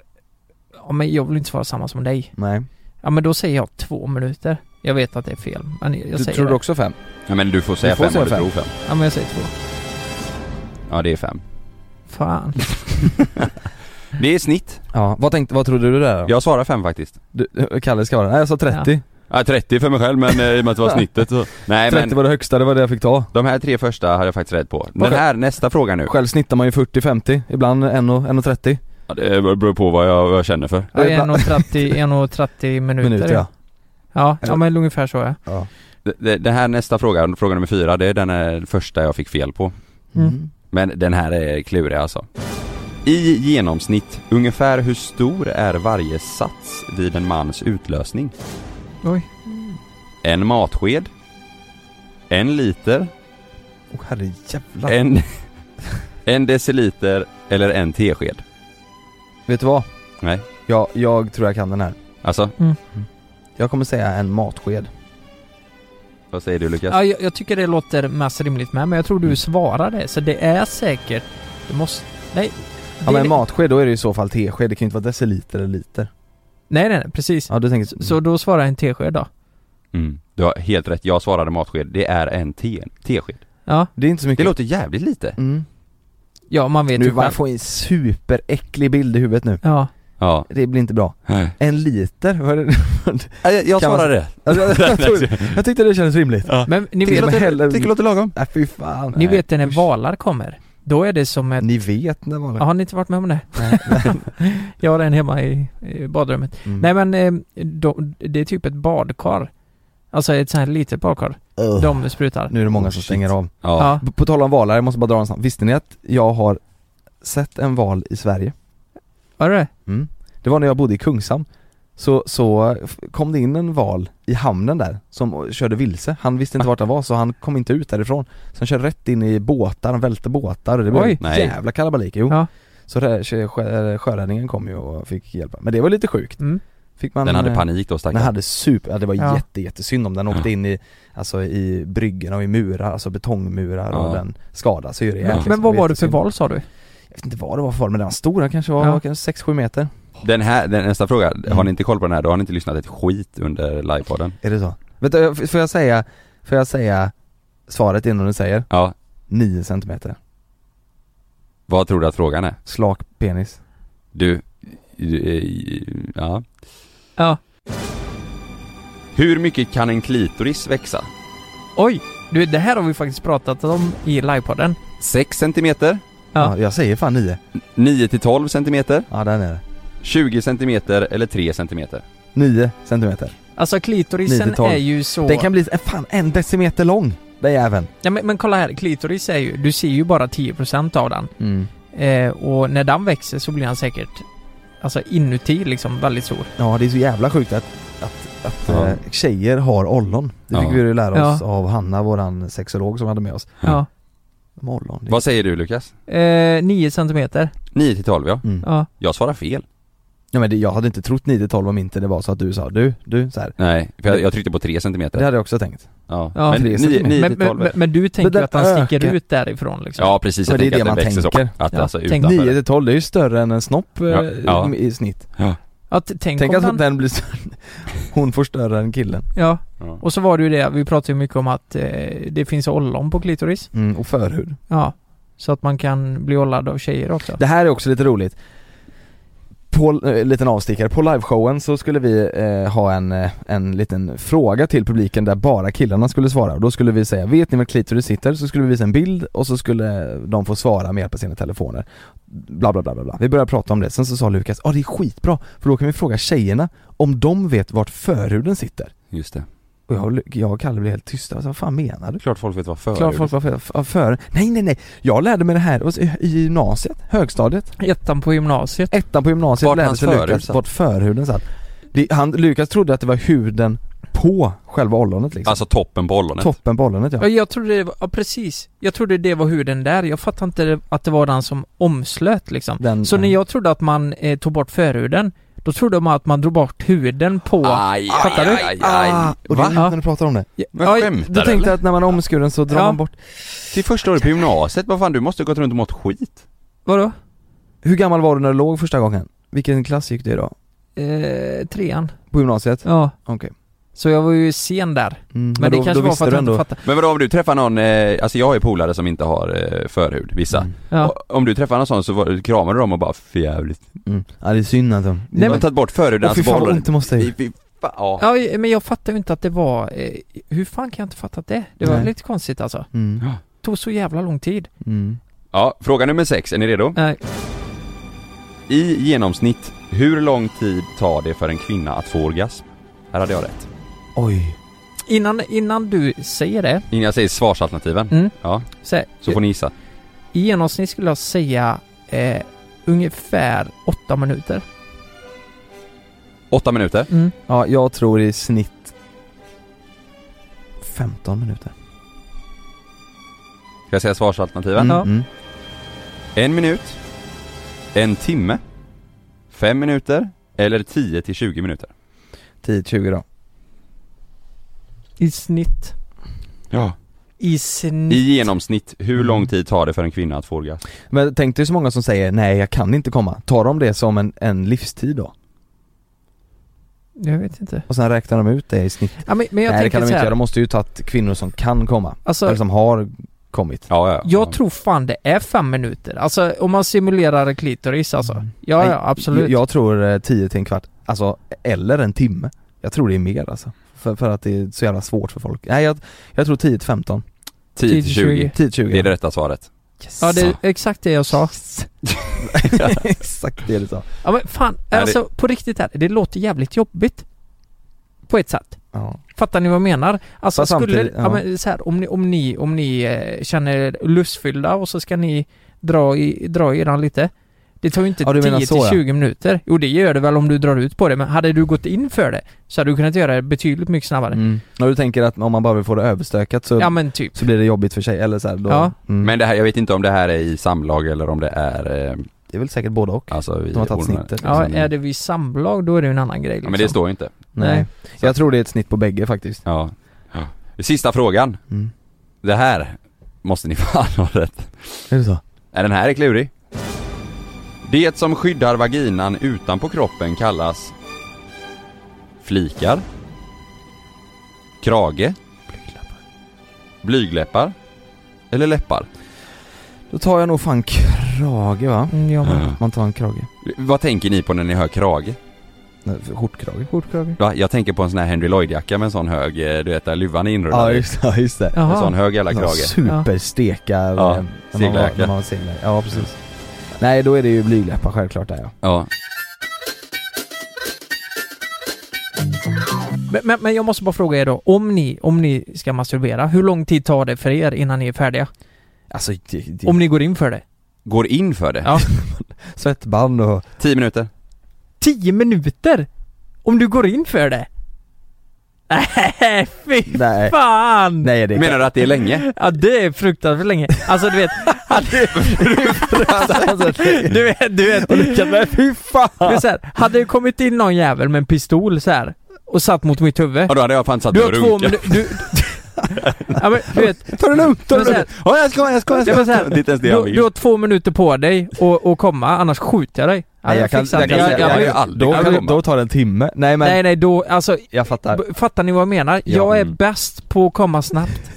ja men jag vill inte svara samma som dig.
nej
Ja men då säger jag två minuter. Jag vet att det är fel, men jag
Du
säger
tror
det.
du också fem?
Ja, men du får säga
Du får
5
säga
om du
fem.
tror 5.
Ja men jag säger två.
Ja, det är 5.
Fan.
Det är snitt.
Ja, vad tänkte, vad trodde du där då?
Jag svarar 5 faktiskt.
Du, Kalle ska vara, nej jag sa 30
Ja, 30 för mig själv men eh, i och med att det var snittet så. Nej
30
men
var det högsta, det var det jag fick ta
de här tre första hade jag faktiskt rätt på. Den
Okej.
här, nästa fråga nu.
Själv snittar man ju 40-50, ibland 1,30
Ja, det beror på vad jag, vad jag känner för.
Ja,
Det är
1.30 1.30 minuter.
minuter ja
Ja, ja men ungefär så ja.
D- d- Den här nästa fråga, fråga nummer fyra, det är den eh, första jag fick fel på.
Mm.
Men den här är klurig alltså. I genomsnitt, ungefär hur stor är varje sats vid en mans utlösning?
Oj.
En matsked? En liter?
Åh herrejävlar
En, en deciliter? Eller en tesked?
Vet du vad?
Nej.
Jag, jag tror jag kan den här
Alltså,
Jag kommer säga en matsked
vad säger du Lukas?
Ja, jag, jag tycker det låter mest rimligt med, men jag
Mm.
tror du svarar det. Så det är säkert... Det måste... Nej.
Ja
det-
men en matsked, då är det i så fall tesked, det kan ju inte vara deciliter eller liter
Nej, nej, nej, precis.
Ja du tänker
Så då svarar jag en tesked då.
Mm. Du har helt rätt, jag svarade matsked. Det är en te- tesked.
Ja,
Det är inte så
Det
mycket
låter jävligt lite.
mm.
ja man vet
Nu
ju
man
själv.
får en superäcklig bild i huvudet nu
Ja.
Ja.
Det blir inte bra En liter? Vad är
Mm.
det?
Jag, jag
Kan man-
svarade det.
Alltså, jag, jag, tror, jag tyckte det kändes rimligt
Men ni
Till
vet,
och med heller-
Tycker det låter lagom.
Nej fy fan
ni vet när valar kommer. Då är det som ett...
Ni vet när var
Ja, har ni inte varit med om det? jag har en hemma i, i badrummet.
Mm.
Nej men, eh, de, det är typ ett badkar. Alltså ett sånt här litet badkar.
Ugh.
De sprutar.
Nu är det många
Oh,
som
shit.
stänger av
Ja.
Ja.
På- På tal om valar, jag måste bara dra en snabb. Visste ni att jag har sett en val i Sverige?
Var det
Mm. Det var när jag bodde i Kungshamn Så, så f- kom det in en val i hamnen där som körde vilse. Han visste inte vart han var så han kom inte ut därifrån. Så han körde rätt in i båtar, han välte båtar och det blev
Oj.
en
Nej.
jävla kalabalik. Jo.
Ja.
Så rä- sjö- sjö- sjöräddningen kom ju och fick hjälpa. Men det var lite sjukt.
Mm.
Fick man,
Den hade
eh,
panik då
Den
stackaren.
hade super, ja, det var
Ja.
jätte, jättesynd om den åkte in i, alltså i bryggorna och i murar, alltså betongmurar och
Ja.
den skadas ju rejält
Ja.
liksom.
Men vad var det för
Jättesynd.
val sa du?
Jag vet inte vad det var för val, men den var stor, den kanske var
Ja.
kanske 6-7 meter
Den här, den, nästa fråga. Har ni inte koll på den här, då har ni inte lyssnat ett skit under livepodden.
Är det så? Vet du, f- får jag säga, får jag säga svaret innan du säger?
Ja.
9 centimeter,
Vad tror du att frågan är?
slak penis
Du, du, eh, ja.
Ja.
Hur mycket kan en klitoris växa?
Oj! Du, det här har vi faktiskt pratat om i livepodden.
6 centimeter?
Ja.
ja. jag säger fan 9
9 till 12 centimeter?
Ja, där är det
20 centimeter eller 3 centimeter?
9 centimeter.
Alltså klitorisen
9-12.
är ju så...
Den kan bli, eh, fan, en decimeter lång! Den jäveln.
ja, men, men kolla här, klitoris är ju, du ser ju bara 10% av den.
Mm.
Eh, och när den växer så blir den säkert, alltså inuti liksom, väldigt stor.
Ja, det är så jävla sjukt att, att, att
Ja.
eh, tjejer har ollon. Det fick
Ja.
vi ju lära oss
Ja.
av Hanna, våran sexolog som hade med oss.
Ja.
De har ollon. Det-
Vad säger du Lukas?
Eh, 9 centimeter.
9 till 12 ja.
Mm.
Ja.
Jag svarar fel.
Ja, men det, jag hade inte trott 9-12 om inte det var så att du sa du, du så här.
Nej, för jag, jag tryckte på 3 centimeter.
Det hade jag också tänkt.
Ja.
Ja.
Men
Tre
9
centimeter.
Men,
till
men,
12
men, men du tänker
den
att den sticker
ökar.
ut därifrån liksom?
Ja precis, jag
Men det är
tänker
det
att den
man
växer
tänker.
så. Att
Ja.
alltså
Tänk
utanför.
9-12, det är ju större än en snopp eh,
Ja, ja.
i snitt.
Att, tänk
Tänk alltså
om den,
att den blir större. Hon får större än killen.
Ja,
Ja.
och så var det ju det, vi pratade ju mycket om att eh, det finns ollon på klitoris.
Mm, och förhud.
Ja. Så att man kan bli ollad av tjejer också.
Det här är också lite roligt. På, eh, liten avstickare, på liveshowen så skulle vi eh, ha en, eh, en liten fråga till publiken där bara killarna skulle svara och då skulle vi säga Vet ni var klitoris sitter? Så skulle vi visa en bild och så skulle de få svara med hjälp av sina telefoner Bla bla bla bla, bla. Vi började prata om det, sen så sa Lukas Ja det är skitbra för då kan vi fråga tjejerna om de vet vart förhuden sitter
Just det.
Och jag och, Lu- jag och Kalle blev helt tysta, alltså, vad fan menar du?
Klart folk vet vad för.
Klart folk var för, för, för, nej nej nej, jag lärde mig det här hos- i i gymnasiet, högstadiet
Ettan på gymnasiet.
ettan på gymnasiet
Vart
lärde
hans
sig
förhud
Lukas
satt.
vart förhuden satt. Det, han, Lukas trodde att det var huden på själva ollonet liksom.
Alltså toppen på ollonet.
Toppen på ollonet ja.
Ja, jag trodde det var, ja, precis. Jag trodde det var huden där. Jag fattade inte det- att det var den som omslöt liksom.
Den,
Så när jag trodde att man eh, tog bort förhuden, då trodde man att man drog bort huden på...
Aj,
Fattar
aj,
du?
aj,
Ah,
aj.
och det är
Va?
nytt när du pratar om det.
Ja,
Men
ja,
skämtar
Du tänkte
eller?
att när man är omskuren så drar
Ja.
man bort.
Till första året på gymnasiet, vad fan du måste ha gått runt och mått skit.
Vadå?
Hur gammal var du när du låg första gången? Vilken klass gick du i då?
Eh, trean.
På gymnasiet?
Ja.
Okej.
Så jag var ju sen där.
Mm,
Men det kanske var för att jag inte fattade.
Men vadå om du träffar någon, eh, alltså jag har ju polare som inte har eh, förhud, vissa.
Mm.
Ja.
Och Om du träffar någon sån så var- kramar du dem och bara för jävligt.
Mm. Ja det är synd att de...
Nej,
Nej,
du har
men,
tagit bort förhuden,
åh, fy
alltså
fan vad
bollen.
ont det måste ha
Fy
gjort.
fy fan, ja.
Ja, men jag fattar ju inte att det var... Eh, hur fan kan jag inte fatta det? Det var
Nej.
lite konstigt alltså.
Mm.
Tog så jävla lång tid. Eh,
Mm.
Ja, fråga nummer sex, är ni redo?
Nej.
I genomsnitt, hur lång tid tar det för en kvinna att få orgasm? Här hade jag rätt.
Oj.
Innan, innan du säger det,
Innan jag säger svarsalternativen,
Mm.
ja,
så, här,
så får ni gissa.
i genomsnitt skulle jag säga eh, ungefär åtta minuter.
Åtta minuter.
Mm.
Ja jag tror i snitt 15 minuter.
Ska jag säga svarsalternativen?
Ja.
Mm.
En minut, en timme, fem minuter eller 10 till 20 minuter.
10-20 då.
I snitt.
Ja.
I snitt.
I genomsnitt, hur lång tid tar det för en kvinna att få orgasm?
Men tänk dig så många som säger nej jag kan inte komma, tar de det som en, en livstid då?
Jag vet inte.
Och sen räknar de ut det i snitt?
Ja, men, men jag
nej det
tänker
kan de
så
inte
här.
göra, de måste ju tagit kvinnor som kan komma,
Alltså,
eller som har kommit
Ja, ja.
jag tror fan det är fem minuter. Alltså om man simulerar klitoris alltså. Ja,
Nej,
ja absolut.
Jag, jag tror eh, 10 till en kvart, alltså eller en timme Jag tror det är mer alltså, för, för att det är så jävla svårt för folk Nej jag, jag tror 10 till 15,
10 till 20.
10 till
Det
20
är det rätta svaret.
Ja, det är exakt det jag sa.
Exakt det du sa
Ja men fan,
det-
alltså på riktigt här, det låter jävligt jobbigt. På ett sätt.
ja.
Fattar ni vad jag menar? Alltså
Fast
skulle,
samtidigt,
ja.
ja.
men så här, om ni, om ni, om ni eh, känner er lustfyllda och så ska ni dra i, dra i den lite. Det tar ju inte
Ja, du menar
10
så,
till
ja.
20 minuter. Jo det gör det väl om du drar ut på det, men hade du gått in för det så hade du kunnat göra det betydligt mycket snabbare.
mm. Och du tänker att om man bara vill få det överstökat så,
Ja men typ.
så blir det jobbigt för sig, eller så här, då,
Ja.
mm.
Men det här, jag vet inte om det här är i samlag eller om det är, eh,
det är väl säkert både och
alltså i
De har tagit
ormen.
snittet.
Ja,
Sen-
är det vid samlag då är det ju en annan grej
Ja,
liksom.
men det står ju inte.
Nej.
Nej. Jag tror det är ett snitt på bägge faktiskt.
Ja. Sista frågan.
Mm.
Det här måste ni fan ha rätt.
Är det så?
Är den här är klurig? Det som skyddar vaginan utanpå kroppen kallas flikar, krage, blygläppar eller läppar.
Då tar jag nog fan krage va?
Mm, ja, men.
Man tar en krage.
Vad tänker ni på när ni hör krage?
Nej, för- Skjortkrage.
Skjortkrage.
Va? Jag tänker på en sån här Henry Lloyd-jacka med en sån hög, eh, du vet där luvan är inrullad
Ja
i.
just, ja, just det.
En sån
Jaha.
hög jävla
Sån
krage.
Superstekar.
Ja,
eh, när man var-
seglarjacka.
när man var seglar. Ja precis. Nej då är det ju blygdläppar självklart där ja.
Ja.
Men, men, men jag måste bara fråga er då, om ni, om ni ska masturbera, hur lång tid tar det för er innan ni är färdiga?
Alltså, det, det,
Om ni går in för det?
Går in för det?
Ja.
svettband och...
10 minuter?
10 minuter? Om du går in för det? Nej, fy
Nej.
fan!
Nej det
Menar du att det är länge?
Ja det är fruktansvärt länge, alltså du vet, hade, du vet, du vet,
Men fy
det är
fan!
så här, hade det kommit in någon jävel med en pistol så här och satt mot mitt huvud
Ja då hade jag fan satt
Du
mig
har
och
två
runkat.
minuter, du, ja, men, du vet,
Ta det lugnt, ta det
Men så här-
lugnt! Ja jag ska, jag ska, jag
Det
ska!
var så här,
Det är inte ens det jag
du,
vill.
du har två minuter på dig och, och komma, annars skjuter jag dig. Ja,
Nej, jag
jag
kan,
fixar
jag kan,
det.
jag,
Ja,
jag-
men-
aldrig
då,
kan
kan,
komma.
då tar det en timme. Nej men,
Nej nej då, alltså
jag fattar.
b- fattar ni vad jag menar?
Ja.
Jag är
Mm.
bäst på att komma snabbt.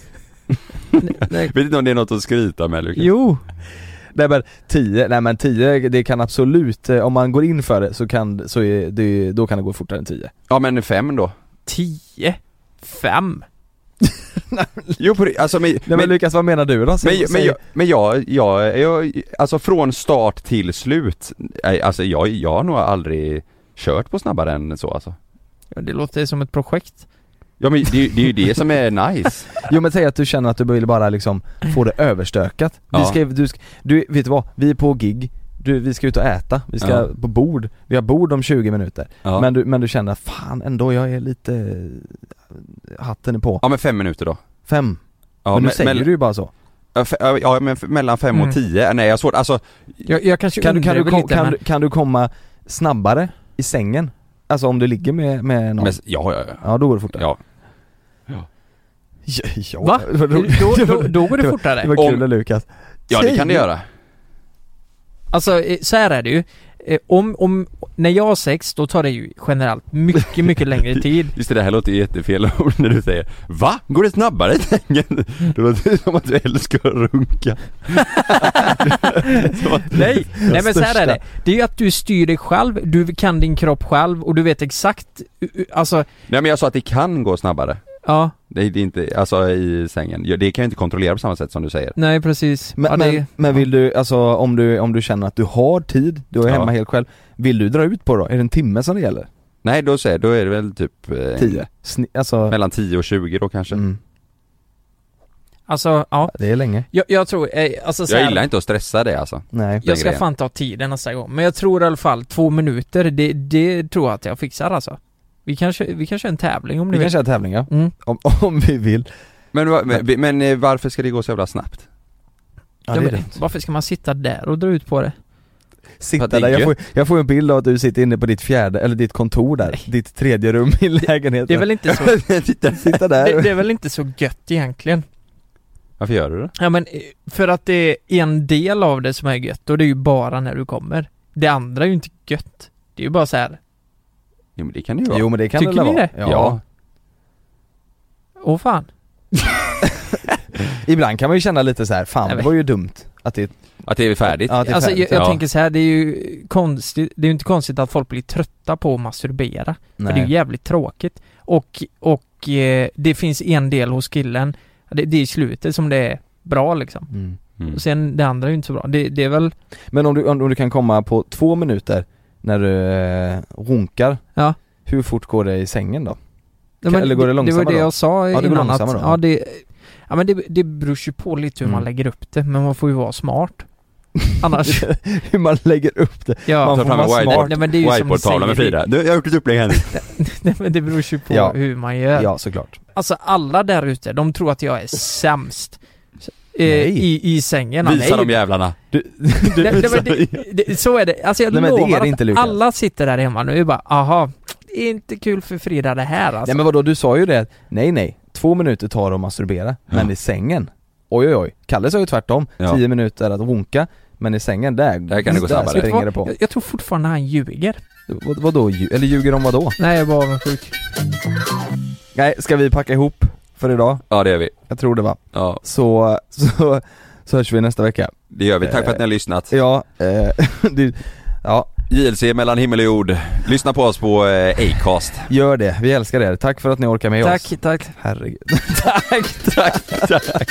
N- nej.
Vet inte om det är något att skryta med Lukas?
Jo,
Nej men 10, nej men 10 det kan absolut, eh, om man går in för det så kan, så är det, då kan det gå fortare än 10.
Ja men fem då?
tio, fem.
Jo på det, alltså men,
Nej men, Lukas vad menar du då?
Men,
Säg-
men,
säg-
jag, men jag, jag, jag, alltså från start till slut, nej, alltså jag, jag har nog aldrig kört på snabbare än så alltså.
Ja, det låter som ett projekt.
Ja men det, är ju- det är ju det som är nice.
Jo men säg att du känner att du vill bara liksom få det överstökat. Vi
Ja.
ska, du, ska, du, vet du vad? Vi är på gig, du, vi ska ut och äta, vi ska
Ja.
på bord, vi har bord om 20 minuter.
Ja.
Men, du, men du känner fan ändå, jag är lite, eh, hatten är på.
ja men fem minuter då.
Fem.
Ja,
men nu
me-
säger
mell-
du ju bara så.
ja, fe- ja men f- mellan fem och
Mm.
tio, nej jag har svårt, alltså
Jag, jag kanske
Kan du, kan,
undrar väl
du, kom,
lite,
kan,
men-
du, kan du komma snabbare i sängen? Alltså om du ligger med, med någon?
men, ja, ja, ja.
Ja då går det fortare.
ja.
Ja, ja.
Va?
Det var
Då,
roligt.
då, då går det fortare.
Det var kul
Om-
det Lukas.
Ja det
Säg
kan det
nu.
göra.
Alltså eh, så här är det ju. Eh, Om, om, när jag har sex, då tar det ju generellt mycket, mycket längre tid.
Just det, det här låter ju jättefel ord när du säger Va? Går det snabbare i sängen? Det låter som att du älskar att runka. Som att-
Nej, nej men så här
största.
är det. Det är ju att du styr dig själv, du kan din kropp själv och du vet exakt, u- u- alltså,
Nej men jag sa att det kan gå snabbare.
ja,
Det är inte, alltså i sängen. Ja, Det kan jag inte kontrollera på samma sätt som du säger.
nej precis.
Men,
ja, det,
men, men vill du, alltså om du, om du känner att du har tid, du är
Ja.
hemma helt själv, vill du dra ut på då? Är det en timme som det gäller?
Nej då säger, då är det väl typ eh,
Tio? Sni, alltså,
Mellan 10 och 20 då kanske.
mm,
alltså, ja.
det är länge.
Jag, jag tror, eh, alltså så här,
Jag gillar inte att stressa det alltså.
Nej.
jag ska
grejen.
fan ta tiden nästa gång. Men jag tror i alla fall två minuter, det, det tror jag att jag fixar alltså. Vi kanske, vi kanske en tävling om ni
Vi kan
vill.
köra tävlingar,
Mm.
om, om vi vill.
Men, va- men, men eh, varför ska det gå så jävla snabbt?
Ja,
Ja, men, varför ska man sitta där och dra ut på det?
Sitta
För att det
där,
är
jag får, jag får en bild av att du sitter inne på ditt fjärde, eller ditt kontor där,
Nej.
ditt tredje rum i lägenheten.
Det är väl inte så,
Titta, sitta där.
det, det är väl inte så gött egentligen?
Varför gör du det?
Ja men eh, för att det är en del av det som är gött och det är ju bara när du kommer. Det andra är ju inte gött. Det är ju bara så här.
Jo men det kan det ju vara.
Jo men det kan
Tycker
det väl
ni
vara?
det?
Ja.
åh fan.
Ibland kan man ju känna lite så här, fan
Nej,
det
men-
var ju dumt att det,
Att det är färdigt?
ja, att det är
Alltså
färdigt.
jag, jag
ja.
tänker så här, det är ju konstigt, det är ju inte konstigt att folk blir trötta på att masturbera. För det är ju
Nej.
jävligt tråkigt. Och, och eh, det finns en del hos killen, det, det är i slutet som det är bra liksom.
Mm.
Mm.
Och sen det andra är ju inte så bra. Det, det är väl,
Men om du, om, om du kan komma på två minuter när du eh, runkar,
Ja.
hur fort går det i sängen då?
Ja,
Eller går det
Det var
långsammare
det
då?
jag sa
Ja, det går
innan att,
långsammare då.
ja det, ja men det, det beror ju på lite hur man
Mm.
lägger upp det, men man får ju vara smart. Annars,
hur man lägger upp det?
ja.
Man
Ta
får
fram
vara
en
smart.
whiteboard-
Nej, men det är ju som du
whiteboard-tavla med
säger,
Frida. Du, jag har gjort ett upplägg här nu.
Nej, men det beror ju på
Ja.
hur man gör.
Ja såklart.
Alltså alla där ute, de tror att jag är sämst. Eh,
Nej.
I, I sängen.
Visa
Nej.
de jävlarna.
Nej, nej, men det, det, så är det. Alltså jag
Nej, men det är
lovar
det
att
inte, Lukas.
alla sitter där hemma nu och bara aha, det är inte kul för Frida det här alltså.
Nej men vadå, du sa ju det, nej nej, två minuter tar det att masturbera, men i sängen, oj oj oj. Kalle sa ju tvärtom,
Ja.
tio minuter att runka, men i sängen där,
Där kan det gå snabbare.
Vet du
springer
vad?
det på.
Jag, jag tror fortfarande han ljuger.
Vad, vadå, lju- eller ljuger de vadå?
Nej, jag är bara avundsjuk.
Nej, ska vi packa ihop för idag?
Ja det gör vi.
Jag tror det va?
Ja
Så, så, så hörs vi nästa vecka.
det gör vi. Tack för att ni har lyssnat.
Ja, eh, det, ja,
JLC mellan himmel och jord. Lyssna på oss på eh, Acast.
gör det. Vi älskar er. Tack för att ni orkar med oss.
Tack, tack.
Herregud.
tack, tack, tack.